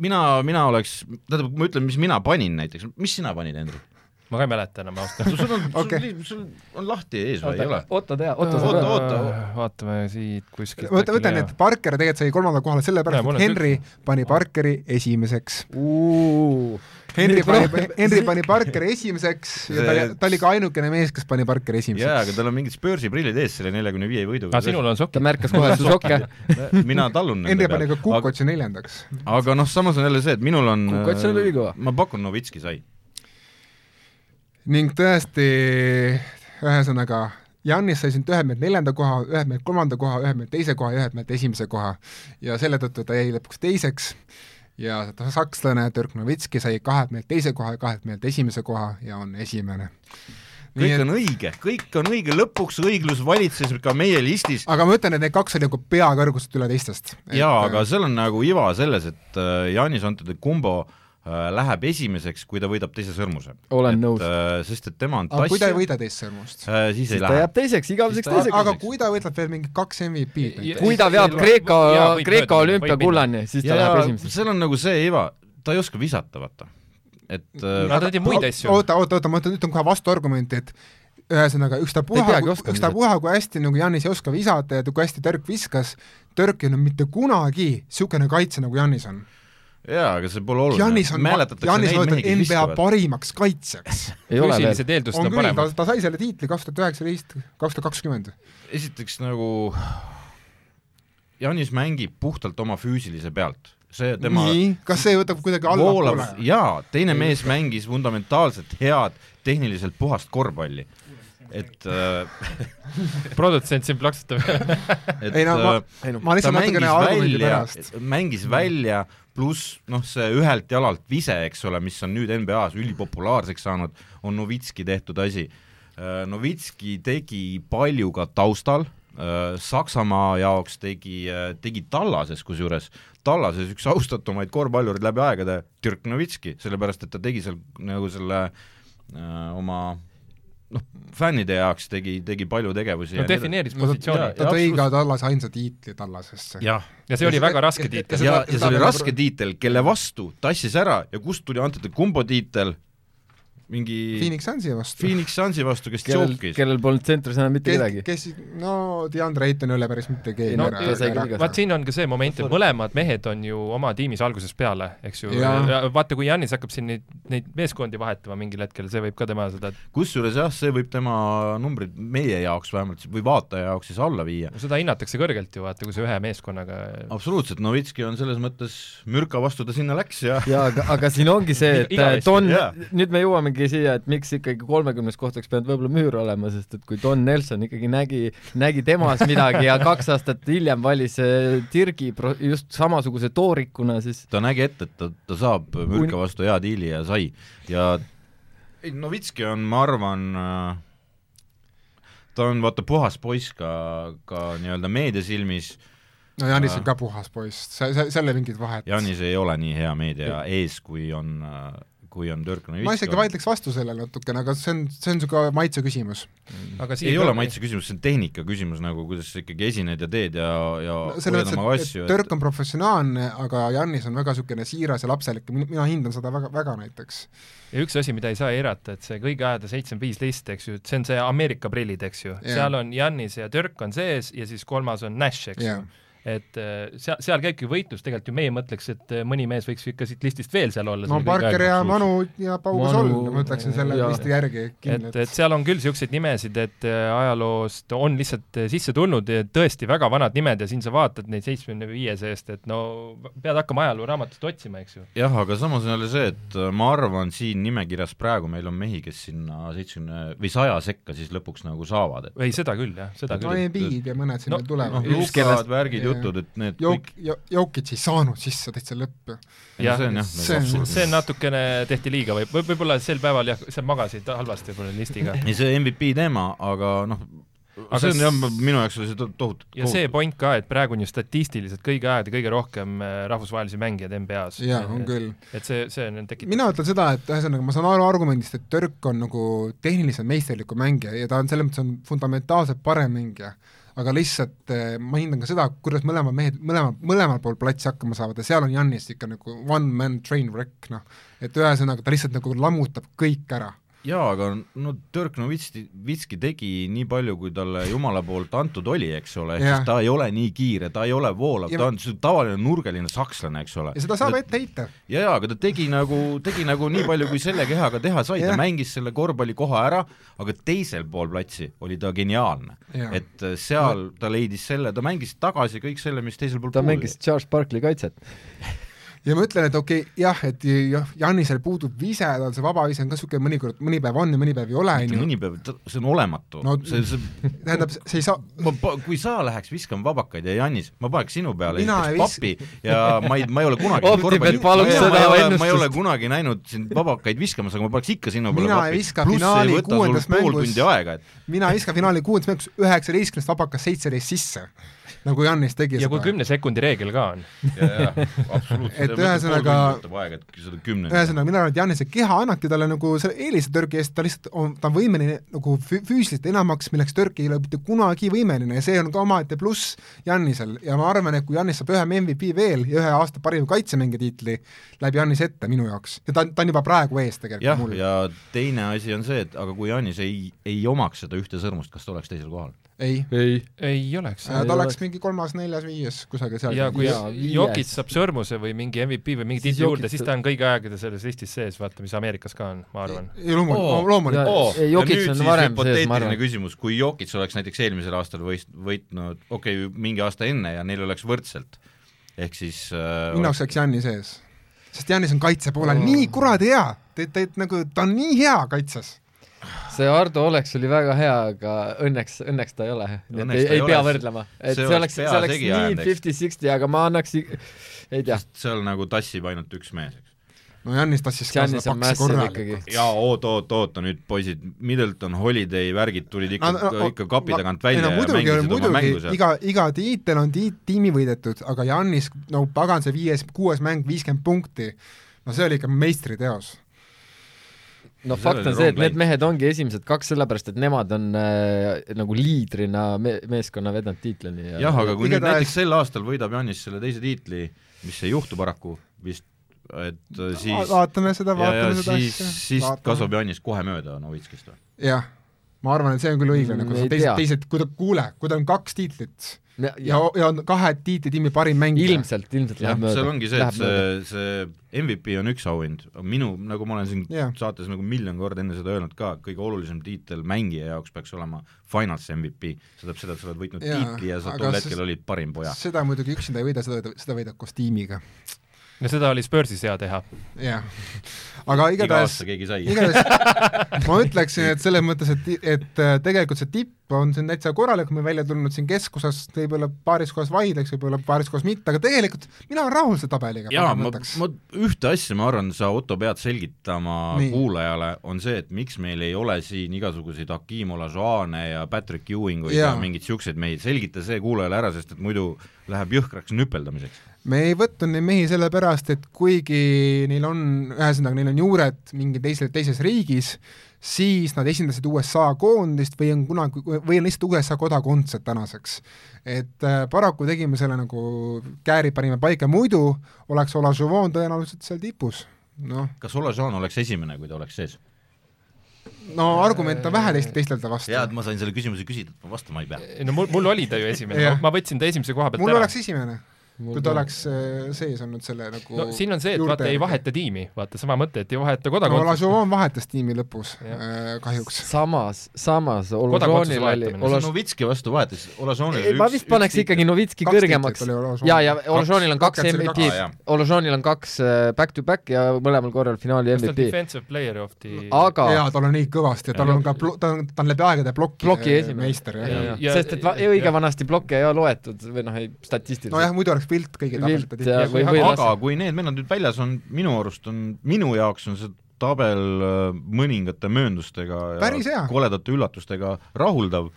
[SPEAKER 3] mina , mina oleks , tähendab , ma ütlen , mis mina panin näiteks , mis sina panid , Henri ?
[SPEAKER 4] ma ka ei mäleta enam ausalt öeldes .
[SPEAKER 3] sul on
[SPEAKER 1] Okei. ,
[SPEAKER 3] sul on lahti ees või ei ole
[SPEAKER 2] oota ?, oota tea , oota
[SPEAKER 3] Oota,
[SPEAKER 2] sa
[SPEAKER 3] oota.
[SPEAKER 2] pead .
[SPEAKER 4] vaatame siit kuskilt .
[SPEAKER 1] ma ütlen , et Parker tegelikult sai kolmandale kohale
[SPEAKER 4] Näe,
[SPEAKER 1] sellepärast ,
[SPEAKER 4] mul
[SPEAKER 1] et
[SPEAKER 4] on
[SPEAKER 1] Henry pani Parkeri esimeseks . Henry
[SPEAKER 2] Henri
[SPEAKER 1] pani , Henry pani Parkeri esimeseks ja ta
[SPEAKER 3] See-
[SPEAKER 1] oli , ta oli ka ainukene mees , kes pani Parkeri
[SPEAKER 3] jaa , aga
[SPEAKER 1] esimeseks .
[SPEAKER 3] tal on mingid Spursi prillid ees selle neljakümne viie võiduga .
[SPEAKER 1] Ah,
[SPEAKER 4] aga Ah, sinul on
[SPEAKER 2] ta
[SPEAKER 4] sokid .
[SPEAKER 2] märkas kohe su sokke .
[SPEAKER 3] mina tallun nende
[SPEAKER 1] Henry pani
[SPEAKER 3] peal
[SPEAKER 1] ka . Kukotši neljandaks .
[SPEAKER 3] aga noh , samas on jälle see , et minul on
[SPEAKER 2] Kukotšil oli kõva.
[SPEAKER 3] ma pakun , Novitski sai .
[SPEAKER 1] ning tõesti , ühesõnaga , Jannis sai siin ühe meelt neljanda koha , ühe meelt kolmanda koha , ühe meelt teise koha ja ühe meelt esimese koha ja selle tõttu ta jäi lõpuks teiseks ja ta sakslane Dirk Novitski sai kahelt meelt teise koha ja kahelt meelt esimese koha ja on esimene . nii
[SPEAKER 3] kõik
[SPEAKER 1] et ,
[SPEAKER 3] on õige , kõik on õige , lõpuks õiglus valitses ka meie listis
[SPEAKER 1] aga ma ütlen , et need kaks olid nagu peakõrguselt üle teistest . äh,
[SPEAKER 3] jaa , aga seal on nagu iva selles , et äh, Janis Antoni Kumbo äh, läheb esimeseks , kui ta võidab teise sõrmuse .
[SPEAKER 2] olen nõus .
[SPEAKER 3] Äh, sest et tema on
[SPEAKER 1] aga kui ta
[SPEAKER 3] tassija ,
[SPEAKER 1] ei võida teist sõrmust ?
[SPEAKER 3] äh, siis
[SPEAKER 2] siis
[SPEAKER 3] ei
[SPEAKER 2] ta
[SPEAKER 3] lähe .
[SPEAKER 2] jääb teiseks , igaveseks
[SPEAKER 3] Siis ta-
[SPEAKER 2] teiseks .
[SPEAKER 1] aga kui ta võidab veel mingi kaks MVP-d näiteks ?
[SPEAKER 2] kui ta veab
[SPEAKER 4] Jaa,
[SPEAKER 2] Kreeka
[SPEAKER 4] võib- jaa, võib ,
[SPEAKER 2] Kreeka
[SPEAKER 4] mööda minna, võib
[SPEAKER 2] olümpiakullani , siis ta läheb esimeseks .
[SPEAKER 3] seal on nagu see iva , ta ei oska visata , vaata . et äh,
[SPEAKER 4] no ta teeb muid asju .
[SPEAKER 1] oota , oota , oota , ma ütlen , ütlen kohe vastuargumenti , et ühesõnaga
[SPEAKER 2] Ta ei
[SPEAKER 1] ükstapuha
[SPEAKER 2] peagi , oskama
[SPEAKER 1] ükstapuha , kui hästi nagu Janis ei oska visata ja kui hästi Türk viskas , Türk ei olnud mitte kunagi niisugune kaitse , nagu Janis on .
[SPEAKER 3] jaa , aga see pole oluline
[SPEAKER 1] Janis . on ,
[SPEAKER 3] mäletatakse
[SPEAKER 1] Janis
[SPEAKER 3] neid
[SPEAKER 1] on
[SPEAKER 3] mehi , kes
[SPEAKER 1] NBA
[SPEAKER 3] viskavad .
[SPEAKER 1] parimaks kaitsjaks .
[SPEAKER 2] ei ole veel .
[SPEAKER 4] füüsilised eeldused
[SPEAKER 1] on
[SPEAKER 4] on
[SPEAKER 1] küll , ta
[SPEAKER 4] paremad .,
[SPEAKER 1] ta sai selle tiitli kaks tuhat üheksateist , kaks tuhat kakskümmend .
[SPEAKER 3] esiteks nagu Janis mängib puhtalt oma füüsilise pealt , see tema
[SPEAKER 1] nii , kas see võtab kuidagi
[SPEAKER 3] voolav
[SPEAKER 1] allapoole ?
[SPEAKER 3] jaa , teine mees mängis fundamentaalselt head , tehniliselt puhast korvpalli . et , äh,
[SPEAKER 4] produtsent siin plaksutab .
[SPEAKER 3] et
[SPEAKER 1] ei no ma
[SPEAKER 3] äh, ,
[SPEAKER 1] ma
[SPEAKER 3] ta
[SPEAKER 1] lihtsalt
[SPEAKER 3] mängis
[SPEAKER 1] natukene argumendi
[SPEAKER 3] välja
[SPEAKER 1] pärast .,
[SPEAKER 3] mängis välja , pluss noh , see ühelt jalalt vise , eks ole , mis on nüüd NBA-s ülipopulaarseks saanud , on Novitski tehtud asi . Novitski tegi palju ka taustal , Saksamaa jaoks tegi , tegi Tallases kusjuures , Tallases üks austatumaid korvpallureid läbi aegade , Dirk Novitski , sellepärast et ta tegi seal nagu selle öö, oma noh , fännide jaoks tegi , tegi palju tegevusi
[SPEAKER 4] no . defineeris
[SPEAKER 1] No ta,
[SPEAKER 4] positsiooni
[SPEAKER 1] ta tõi ka
[SPEAKER 3] absoluutselt.
[SPEAKER 1] Tallase ainsa tiitli Tallasesse .
[SPEAKER 3] jah ,
[SPEAKER 4] ja see oli väga raske tiitel .
[SPEAKER 3] ja , ja
[SPEAKER 1] seda-
[SPEAKER 3] see oli
[SPEAKER 1] seda-
[SPEAKER 3] raske tiitel , kelle vastu tassis ära ja kust tuli antud kumbo tiitel , mingi
[SPEAKER 1] Phoenix Sunsi vastu .
[SPEAKER 3] Phoenix Sunsi vastu , kes
[SPEAKER 2] kellel ,
[SPEAKER 3] chokis .
[SPEAKER 2] kellel polnud tsentris enam mitte
[SPEAKER 1] kes
[SPEAKER 2] kedagi ,.
[SPEAKER 1] kes , no Deandre Ayton ei ole päris mitte keegi
[SPEAKER 2] No,
[SPEAKER 1] ära
[SPEAKER 2] ta sai küll
[SPEAKER 1] ära-
[SPEAKER 2] vigaseks.
[SPEAKER 1] ära-
[SPEAKER 4] vaat siin on ka see moment , et mõlemad mehed on ju oma tiimis algusest peale , eks ju
[SPEAKER 1] Jaa. .
[SPEAKER 4] vaata , kui Janis hakkab siin neid , neid meeskondi vahetama mingil hetkel , see võib ka tema seda ,
[SPEAKER 3] kusjuures jah , see võib tema numbrid meie jaoks vähemalt või vaataja jaoks siis alla viia .
[SPEAKER 4] seda hinnatakse kõrgelt ju , vaata , kui sa ühe meeskonnaga
[SPEAKER 3] absoluutselt , Novitski on selles mõttes mürka vastu ta sinna läks ja
[SPEAKER 2] jaa , aga , aga siin ongi see , et äh,
[SPEAKER 4] Igavesti,
[SPEAKER 2] Don
[SPEAKER 3] jaa. ,
[SPEAKER 2] nüüd me jõuamegi siia , et miks ikkagi kolmekümnes koht oleks pidanud võib-olla müür olema , sest et kui Don Nelson ikkagi nägi , nägi temas midagi ja kaks aastat hiljem valis äh, Tirgi pro- just samasuguse toorikuna , siis
[SPEAKER 3] ta nägi ette , et ta , ta saab mürka vastu hea diili ja sai ja ei , Novitski on , ma arvan , ta on vaata puhas poiss ka , ka nii-öelda meedia silmis ,
[SPEAKER 1] no Janis on ka puhas poiss , see , see , seal ei ole mingit vahet .
[SPEAKER 3] Janis ei ole nii hea meedia ees , kui on , kui on Dirk Novitski .
[SPEAKER 1] ma isegi vaidleks vastu sellele natukene , aga see on , see on niisugune maitse küsimus .
[SPEAKER 4] aga
[SPEAKER 3] ei ole maitse küsimus , see on tehnika küsimus nagu , kuidas sa ikkagi esined ja teed ja , ja
[SPEAKER 1] selles
[SPEAKER 3] hoiad Oh, oma
[SPEAKER 1] mõttes ,
[SPEAKER 3] asju ,
[SPEAKER 1] et Dirk on professionaalne , aga Janis on väga niisugune siiras ja lapselik ja min- mina hindan seda väga , väga näiteks .
[SPEAKER 4] ja üks asi , mida ei saa eirata , et see kõige ajada seitsekümmend viis list , eks ju , et see on see Ameerika prillid , eks ju
[SPEAKER 1] Jaa.
[SPEAKER 4] yeah. , seal on Jannis ja Dirk on sees ja siis kolmas on Nash , eks
[SPEAKER 1] Jaa.
[SPEAKER 4] yeah. ju . et eh, seal , seal käibki võitlus , tegelikult ju meie mõtleks , et eh, mõni mees võiks ju ikka siit listist veel seal olla .
[SPEAKER 1] no Parker ja Manu ja Paugo
[SPEAKER 2] Manu-
[SPEAKER 1] Solv , ma ütleksin selle
[SPEAKER 2] jaa.
[SPEAKER 1] listi järgi
[SPEAKER 4] et , et
[SPEAKER 1] kindlalt .
[SPEAKER 4] seal on küll niisuguseid nimesid , et eh, ajaloost on lihtsalt eh, sisse tulnud eh, tõesti väga vanad nimed ja siin sa vaatad neid seitsmekümne viie seest , et no pead hakkama ajalooraamatust otsima , eks ju .
[SPEAKER 3] jah , aga samas on jälle see , et äh, ma arvan , siin nimekirjas praegu meil on mehi , kes sinna seitsmekümne või saja sekka siis lõpuks nagu saavad , et
[SPEAKER 4] ei , seda küll jah , seda
[SPEAKER 1] no
[SPEAKER 4] küll .
[SPEAKER 1] Embiid ja mõned sinna
[SPEAKER 4] No-
[SPEAKER 3] noh ,
[SPEAKER 1] tulevad .
[SPEAKER 2] Üks,
[SPEAKER 3] lukad
[SPEAKER 2] kellest- ,
[SPEAKER 3] värgid ,
[SPEAKER 1] jah.
[SPEAKER 3] jutud , et need
[SPEAKER 1] Jouk-
[SPEAKER 3] kõik ,,
[SPEAKER 1] Jokic ei saanud sisse täitsa lõppu .
[SPEAKER 3] see on jah
[SPEAKER 1] see on-
[SPEAKER 3] nagu
[SPEAKER 4] see on
[SPEAKER 3] absurd .
[SPEAKER 4] natukene tehti liiga või võib- võib-olla sel päeval jah , sa magasid halvasti võib-olla listiga
[SPEAKER 3] ei , see MVP teema , aga noh ,
[SPEAKER 4] Aga
[SPEAKER 3] see on jah
[SPEAKER 4] s- ,
[SPEAKER 3] minu jaoks oli see to- tohutu
[SPEAKER 4] ja see point ka , et praegu on ju statistiliselt kõige ajad ja kõige rohkem eh, rahvusvahelisi mängijaid NBA-s .
[SPEAKER 1] jaa , on küll .
[SPEAKER 4] et see , see on tekitav .
[SPEAKER 1] mina ütlen seda , et ühesõnaga ma saan aru argumendist , et Dirk on nagu tehniliselt meisterlikum mängija ja ta on selles mõttes on fundamentaalselt parem mängija , aga lihtsalt eh, ma hindan ka seda , kuidas mõlemad mehed mõlema , mõlemal pool platsi hakkama saavad ja seal on Jannis ikka nagu one man train wreck , noh. et ühesõnaga ta lihtsalt nagu lammutab kõik ära .
[SPEAKER 3] jaa , aga no Dirk Novitski , Vitski tegi nii palju , kui talle jumala poolt antud oli , eks ole , ehk
[SPEAKER 1] Jah.
[SPEAKER 3] siis ta ei ole nii kiire , ta ei ole voolav ,
[SPEAKER 1] Ja-
[SPEAKER 3] ta on niisugune tavaline nurgeline sakslane , eks ole .
[SPEAKER 1] ja seda saab ette heita .
[SPEAKER 3] ja , ja aga ta tegi nagu , tegi nagu nii palju , kui selle kehaga teha sai , ta
[SPEAKER 1] Jah.
[SPEAKER 3] mängis selle korvpallikoha ära , aga teisel pool platsi oli ta geniaalne .
[SPEAKER 1] Jah.
[SPEAKER 3] et äh, seal ta leidis selle , ta mängis tagasi kõik selle , mis teisel pool
[SPEAKER 2] ta mängis . Charles Barkley kaitset .
[SPEAKER 1] ja ma ütlen , et okei okay, , jah , et jah , Janisel puudub vise , tal see vaba vise on ka niisugune mõnikord , mõni päev on ja mõni päev ei ole , on ju ,
[SPEAKER 3] mõni päev , see on olematu
[SPEAKER 1] No-
[SPEAKER 3] no, , see , see
[SPEAKER 1] tähendab , see ei saa ,
[SPEAKER 3] ma pa- , kui sa läheks viskama vabakaid ja Janis , ma paneks sinu peale
[SPEAKER 1] Mina
[SPEAKER 3] esiteks
[SPEAKER 1] ei vis-
[SPEAKER 3] papi ja ma ei , ma ei ole kunagi
[SPEAKER 2] Optimist
[SPEAKER 3] korvpalli-
[SPEAKER 2] palub
[SPEAKER 3] ma ei-
[SPEAKER 2] seda
[SPEAKER 3] ma ei ole- ma ei ole
[SPEAKER 2] ennustust.
[SPEAKER 3] kunagi näinud sind vabakaid viskamas , aga ma paneks ikka sinu peale
[SPEAKER 1] Mina ei
[SPEAKER 3] papi.
[SPEAKER 1] viska
[SPEAKER 3] Pluss see
[SPEAKER 1] finaali
[SPEAKER 3] ei võta sul
[SPEAKER 1] kuuendas
[SPEAKER 3] pool
[SPEAKER 1] mängus-
[SPEAKER 3] tundi aega , et
[SPEAKER 1] mina viskan finaali kuuendas mängus üheksateistkümnest vabakas seitseteist sisse , nagu Jannis tegi
[SPEAKER 4] ja kui kümne sekundi reegel ka on .
[SPEAKER 1] Et ühesõnaga-
[SPEAKER 3] aega , et seda kümne
[SPEAKER 1] ühesõnaga , mina arvan , et Jannise keha annabki talle nagu selle eelise Türgi eest , ta lihtsalt on , ta on võimeline nagu fü- füüsiliselt enamaks , milleks Türgi ei ole mitte kunagi võimeline ja see on ka omaette pluss Jannisel ja ma arvan , et kui Jannis saab ühe MVP veel ja ühe aasta parima kaitsemängija tiitli , läheb Jannis ette minu jaoks ja ta on , ta on juba praegu ees tegelikult
[SPEAKER 3] jah ,
[SPEAKER 1] mul .
[SPEAKER 3] ja teine asi on see , et aga kui Janis ei , ei omaks seda ühte sõrmust , kas ta oleks teisel kohal ?
[SPEAKER 1] ei ,
[SPEAKER 2] ei .
[SPEAKER 4] ei oleks .
[SPEAKER 1] ta
[SPEAKER 2] ei
[SPEAKER 1] oleks mingi kolmas , neljas , Äh, viies kusagil seal .
[SPEAKER 4] ja kui
[SPEAKER 2] Jaa, viies.
[SPEAKER 4] Jokic saab sõrmuse või mingi MVP või mingi
[SPEAKER 2] Siis
[SPEAKER 4] tiitli juurde ,
[SPEAKER 2] Jokic-
[SPEAKER 4] siis ta on kõigi aegade selles listis sees , vaata , mis Ameerikas ka on , ma arvan .
[SPEAKER 1] ei loomulikult
[SPEAKER 3] Oo.
[SPEAKER 1] oh, , loomulikult .
[SPEAKER 2] Oo, ei, Jokic on varem sees, ma arvan.
[SPEAKER 3] küsimus , kui Jokic oleks näiteks eelmisel aastal võist- , võitnud , okei okay, , mingi aasta enne ja neil oleks võrdselt , ehk siis äh,
[SPEAKER 1] minu jaoks oleks Jannis ees . sest Jannis on kaitse poolel nii kuradi hea , ta , ta nagu , ta on nii hea kaitses .
[SPEAKER 2] see Ardo oleks , oli väga hea , aga õnneks , õnneks ta ei ole . nii et
[SPEAKER 3] Õnneks
[SPEAKER 2] ei,
[SPEAKER 3] ta ei
[SPEAKER 2] ei pea
[SPEAKER 3] ole,
[SPEAKER 2] võrdlema . et
[SPEAKER 3] see
[SPEAKER 2] see
[SPEAKER 3] oleks
[SPEAKER 2] oleks , see
[SPEAKER 3] pea
[SPEAKER 2] oleks
[SPEAKER 3] segi
[SPEAKER 2] nii
[SPEAKER 3] ajanud, eks.
[SPEAKER 2] fifty-sixty , aga ma annaks , ei tea .
[SPEAKER 3] seal nagu tassib ainult üks mees , eks .
[SPEAKER 1] no Jannis tassis ka
[SPEAKER 2] Giannis
[SPEAKER 1] seda
[SPEAKER 2] on
[SPEAKER 1] paksi
[SPEAKER 2] massive
[SPEAKER 1] korralikult .
[SPEAKER 2] ikkagi .
[SPEAKER 3] jaa , oot , oot , oota nüüd , poisid , Middleton Holiday värgid tulid ikka no, , no, ikka kapi tagant välja no, ja
[SPEAKER 1] muidugi ,
[SPEAKER 3] mängisid muidugi, oma mängu
[SPEAKER 1] muidugi
[SPEAKER 3] seal .
[SPEAKER 1] iga , iga tiitel on tiit, tiimi võidetud , aga Jannis , no pagan , see viies , kuues mäng , viiskümmend punkti , no see oli ikka meistriteos .
[SPEAKER 2] no
[SPEAKER 3] Sellel
[SPEAKER 2] fakt on
[SPEAKER 3] oli
[SPEAKER 2] see , et
[SPEAKER 3] rong
[SPEAKER 2] need
[SPEAKER 3] läinud.
[SPEAKER 2] mehed ongi esimesed kaks , sellepärast et nemad on äh, nagu liidrina me meeskonna vedanud tiitlini ja
[SPEAKER 3] jah , aga kui nüüd
[SPEAKER 1] Igatahes-
[SPEAKER 3] näiteks sel aastal võidab Janis selle teise tiitli , mis ei juhtu paraku , vist et äh, siis
[SPEAKER 1] vaatame seda ,
[SPEAKER 3] ja , ja
[SPEAKER 1] vaatame seda
[SPEAKER 3] siis , siis
[SPEAKER 1] asja .
[SPEAKER 3] kasvab Janis kohe mööda Novitskist või ?
[SPEAKER 1] jah , ma arvan , et see on küll õiglane , kui sa
[SPEAKER 2] Mm, Ei
[SPEAKER 1] teised
[SPEAKER 2] tea. ,
[SPEAKER 1] teised , kui ta , kuule , kui tal on kaks tiitlit ja , ja on kahe tiitlitiimi parim mängija .
[SPEAKER 2] ilmselt , ilmselt
[SPEAKER 3] jah
[SPEAKER 2] läheb , mööda .
[SPEAKER 3] seal ongi see , et see , see MVP on üks auhind , aga minu , nagu ma olen siin
[SPEAKER 1] Jah.
[SPEAKER 3] yeah. saates nagu miljon korda enne seda öelnud ka , kõige olulisem tiitel mängija jaoks peaks olema finals MVP , see tähendab seda , et sa oled võitnud
[SPEAKER 1] Jaa,
[SPEAKER 3] yeah. tiitli ja sa
[SPEAKER 1] aga
[SPEAKER 3] tol
[SPEAKER 1] sest-
[SPEAKER 3] hetkel olid parim poja .
[SPEAKER 1] seda muidugi üksinda ei võida , seda , seda võidab koos tiimiga .
[SPEAKER 4] ja seda oli Spursis hea teha .
[SPEAKER 1] jah , aga
[SPEAKER 3] iga
[SPEAKER 1] igatahes
[SPEAKER 3] aasta keegi sai .
[SPEAKER 1] igatahes ma ütleksin , et selles mõttes , et , et äh, tegelikult see tipp on siin täitsa korralik , me välja tulnud siin keskusas , võib-olla paaris kohas vaidleks , võib-olla paaris kohas mitte , aga tegelikult mina olen rahul selle tabeliga .
[SPEAKER 3] jaa , ma , ma ühte asja , ma arvan , sa Otto pead selgitama
[SPEAKER 1] Nii.
[SPEAKER 3] Nii. kuulajale , on see , et miks meil ei ole siin igasuguseid Hakim Olažoane ja Patrick Ewinguid ja,
[SPEAKER 1] Jaa.
[SPEAKER 3] ja mingeid niisuguseid mehi , selgita see kuulajale ära , sest et muidu läheb jõhkraks nüpeldamiseks .
[SPEAKER 1] me ei võtnud neid mehi sellepärast , et kuigi neil on , ühesõnaga neil on juured mingi teisel , teises riigis , siis nad esindasid USA koondist või on kunagi , või on lihtsalt USA kodakondsed tänaseks . et äh, paraku tegime selle nagu kääri panime paika , muidu oleks Olažovon tõenäoliselt seal tipus . noh ,
[SPEAKER 3] kas Olažoan oleks esimene , kui ta oleks sees ?
[SPEAKER 1] no argument on vähe teist , teistelda vastu .
[SPEAKER 3] hea , et ma sain selle küsimuse küsida , ma vastama ei pea .
[SPEAKER 4] no mul , mul oli ta ju esimene
[SPEAKER 1] Jah. ,
[SPEAKER 4] ma võtsin ta esimese koha pealt
[SPEAKER 1] mul
[SPEAKER 4] ära .
[SPEAKER 1] oleks esimene , kui ta oleks äh, sees olnud selle nagu
[SPEAKER 4] no siin on see , et vaata , ei . vaheta tiimi , vaata sama mõte , et ei vaheta kodakondsust no, .
[SPEAKER 1] Olažovon vahetas tiimi lõpus
[SPEAKER 4] Jah.
[SPEAKER 1] äh, kahjuks .
[SPEAKER 2] samas , samas Olažoonil
[SPEAKER 4] Kodakondsuse
[SPEAKER 2] oli
[SPEAKER 4] vahetamine.
[SPEAKER 3] Olas...
[SPEAKER 2] Olaž... ,
[SPEAKER 3] Novitski vastu vahetas Olažoanile
[SPEAKER 2] ei , ma vist paneks ikkagi Novitski
[SPEAKER 1] Kaks
[SPEAKER 2] kõrgemaks
[SPEAKER 1] tiitlit oli Olažoonil.
[SPEAKER 2] ja , ja Olažoonil on kaks
[SPEAKER 1] Kaks-
[SPEAKER 2] MVP-d
[SPEAKER 3] kaks- jaa. ,
[SPEAKER 2] Olažoonil on kaks äh, back-to-back ja mõlemal korral finaali
[SPEAKER 4] kas ta
[SPEAKER 2] MVP ,
[SPEAKER 4] on defensive player of the
[SPEAKER 2] aga
[SPEAKER 1] jaa , tal on nii kõvasti ja tal on ka , ta on , ta on läbi aegade ploki,
[SPEAKER 2] Ploki
[SPEAKER 1] eh,
[SPEAKER 2] esimene.
[SPEAKER 1] meister ,
[SPEAKER 2] Ja,
[SPEAKER 1] jah .
[SPEAKER 4] Jaa.
[SPEAKER 2] ja, sest et va-
[SPEAKER 4] ja-
[SPEAKER 2] õige
[SPEAKER 4] ja-
[SPEAKER 2] vanasti plokke ei ole loetud või noh , ei statistiliselt
[SPEAKER 1] nojah , muidu oleks pilt kõige
[SPEAKER 2] Wild
[SPEAKER 1] tapelt
[SPEAKER 2] ja
[SPEAKER 1] ja
[SPEAKER 2] või , või
[SPEAKER 3] aga
[SPEAKER 2] las-
[SPEAKER 3] kui need vennad nüüd väljas on , minu arust on , minu jaoks on see tabel äh, mõningate mööndustega
[SPEAKER 1] Päris hea.
[SPEAKER 3] ja koledate üllatustega rahuldav ,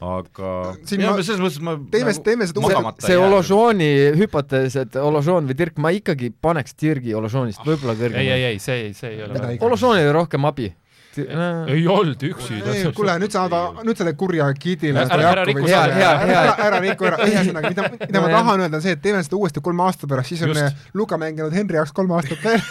[SPEAKER 3] aga
[SPEAKER 1] Siin
[SPEAKER 3] ja,
[SPEAKER 1] ma-
[SPEAKER 3] ma... selles mõttes ma nagu
[SPEAKER 1] teeme- teeme seda
[SPEAKER 2] see,
[SPEAKER 1] Magamata
[SPEAKER 2] see . Olažooni hüpotees , et Olažoon või Dirk , ma ikkagi paneks Dirgi Olažoonist võib-olla
[SPEAKER 4] Ah, ei , ei ,
[SPEAKER 2] kõrgemale .
[SPEAKER 4] ei , see ei , see ei
[SPEAKER 1] Mida
[SPEAKER 4] ole .
[SPEAKER 1] iganes.
[SPEAKER 2] Olažoonil oli rohkem abi .
[SPEAKER 4] ei olnud üksi .
[SPEAKER 1] ei , kuule , nüüd sa annad , nüüd selle kurja kidile
[SPEAKER 4] Ära- ära riku
[SPEAKER 1] ära,
[SPEAKER 2] saade. Hea, hea,
[SPEAKER 1] ära,
[SPEAKER 2] hea.
[SPEAKER 1] ära riku ära , ühesõnaga , mida , mida ma
[SPEAKER 2] Nojah.
[SPEAKER 1] tahan öelda , on see , et teeme seda uuesti kolme aasta pärast , siis on
[SPEAKER 3] Just.
[SPEAKER 1] eh, Luka mänginud Henri jaoks kolm aastat veel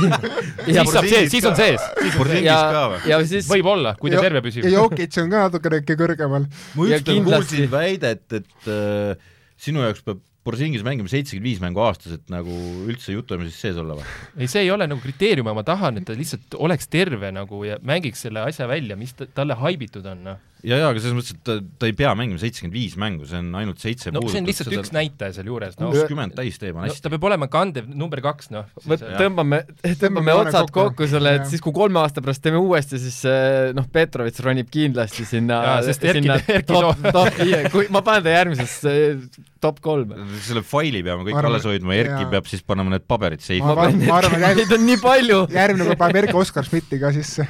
[SPEAKER 4] siis saab sees , siis on sees .
[SPEAKER 3] Porzingis
[SPEAKER 2] ja
[SPEAKER 3] ka , või ?
[SPEAKER 2] ja siis
[SPEAKER 4] võib-olla , kui ta
[SPEAKER 1] Ja-
[SPEAKER 4] terve püsib
[SPEAKER 1] ja . Jokic on ka natuke ikka kõrgemal .
[SPEAKER 3] ma
[SPEAKER 2] ja
[SPEAKER 3] üldse
[SPEAKER 2] kindlasti-
[SPEAKER 3] kuulsin väidet , et äh, sinu jaoks peab Porzingis mängima seitsekümmend viis mängu aastas , et nagu üldse jutuamises sees olla või ?
[SPEAKER 4] ei , see ei ole nagu kriteerium , ma tahan , et ta lihtsalt oleks terve nagu ja mängiks selle asja välja , mis ta, talle haibitud on , noh .
[SPEAKER 3] jaa , jaa , aga selles mõttes , et ta , ta ei pea mängima seitsekümmend viis mängu , see on ainult seitse
[SPEAKER 4] no see on lihtsalt üks näitaja sealjuures , noh .
[SPEAKER 3] kuuskümmend täis teeb , on
[SPEAKER 4] no
[SPEAKER 3] hästi .
[SPEAKER 4] ta peab olema kandev number kaks , noh .
[SPEAKER 2] vot tõmbame , tõmbame
[SPEAKER 1] joone
[SPEAKER 2] otsad
[SPEAKER 1] kokku.
[SPEAKER 2] kokku selle , et
[SPEAKER 1] Jah.
[SPEAKER 2] siis kui kolme aasta pärast teeme uuesti , siis eh, noh , Petrovitš ronib kindlasti sinna
[SPEAKER 4] Jaa, , sest Erki-
[SPEAKER 2] sinna
[SPEAKER 4] Erki
[SPEAKER 2] top ,
[SPEAKER 4] Toom-
[SPEAKER 2] top viie , kui ma panen ta järgmisesse eh, top kolme .
[SPEAKER 3] selle faili peame kõik
[SPEAKER 1] Ma arvan-
[SPEAKER 3] alles hoidma , Erki
[SPEAKER 1] jaa.
[SPEAKER 3] peab siis panema need paberid
[SPEAKER 1] ma
[SPEAKER 3] seifi .
[SPEAKER 1] arvan , ma arvan , et
[SPEAKER 2] Neid on nii palju ,
[SPEAKER 1] järgmine kord paneb Erki Oskar Schmidti ka sisse .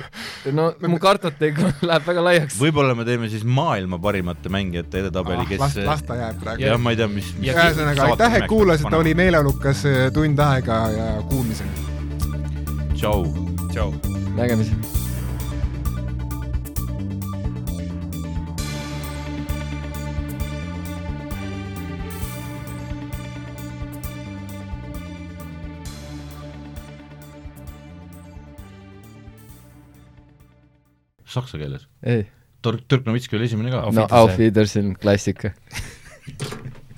[SPEAKER 2] no mu kartotee läheb väga laiaks .
[SPEAKER 3] võib-olla me teeme siis maailma parimate mängijate edetabeli ,
[SPEAKER 1] Ah, las ,
[SPEAKER 3] kes eh,
[SPEAKER 1] las ta jääb praegu .
[SPEAKER 3] jah , ma ei tea , mis , mis
[SPEAKER 1] ühesõnaga , aitäh , et kuulasite , oli meeleolukas eh, tund aega ja kuulmiseni .
[SPEAKER 3] tšau .
[SPEAKER 4] tšau .
[SPEAKER 2] nägemist .
[SPEAKER 3] saksa keeles .
[SPEAKER 2] ei ,
[SPEAKER 3] Türk , Türknovitski oli esimene ka .
[SPEAKER 2] no Auf Wiedersehen , klassika .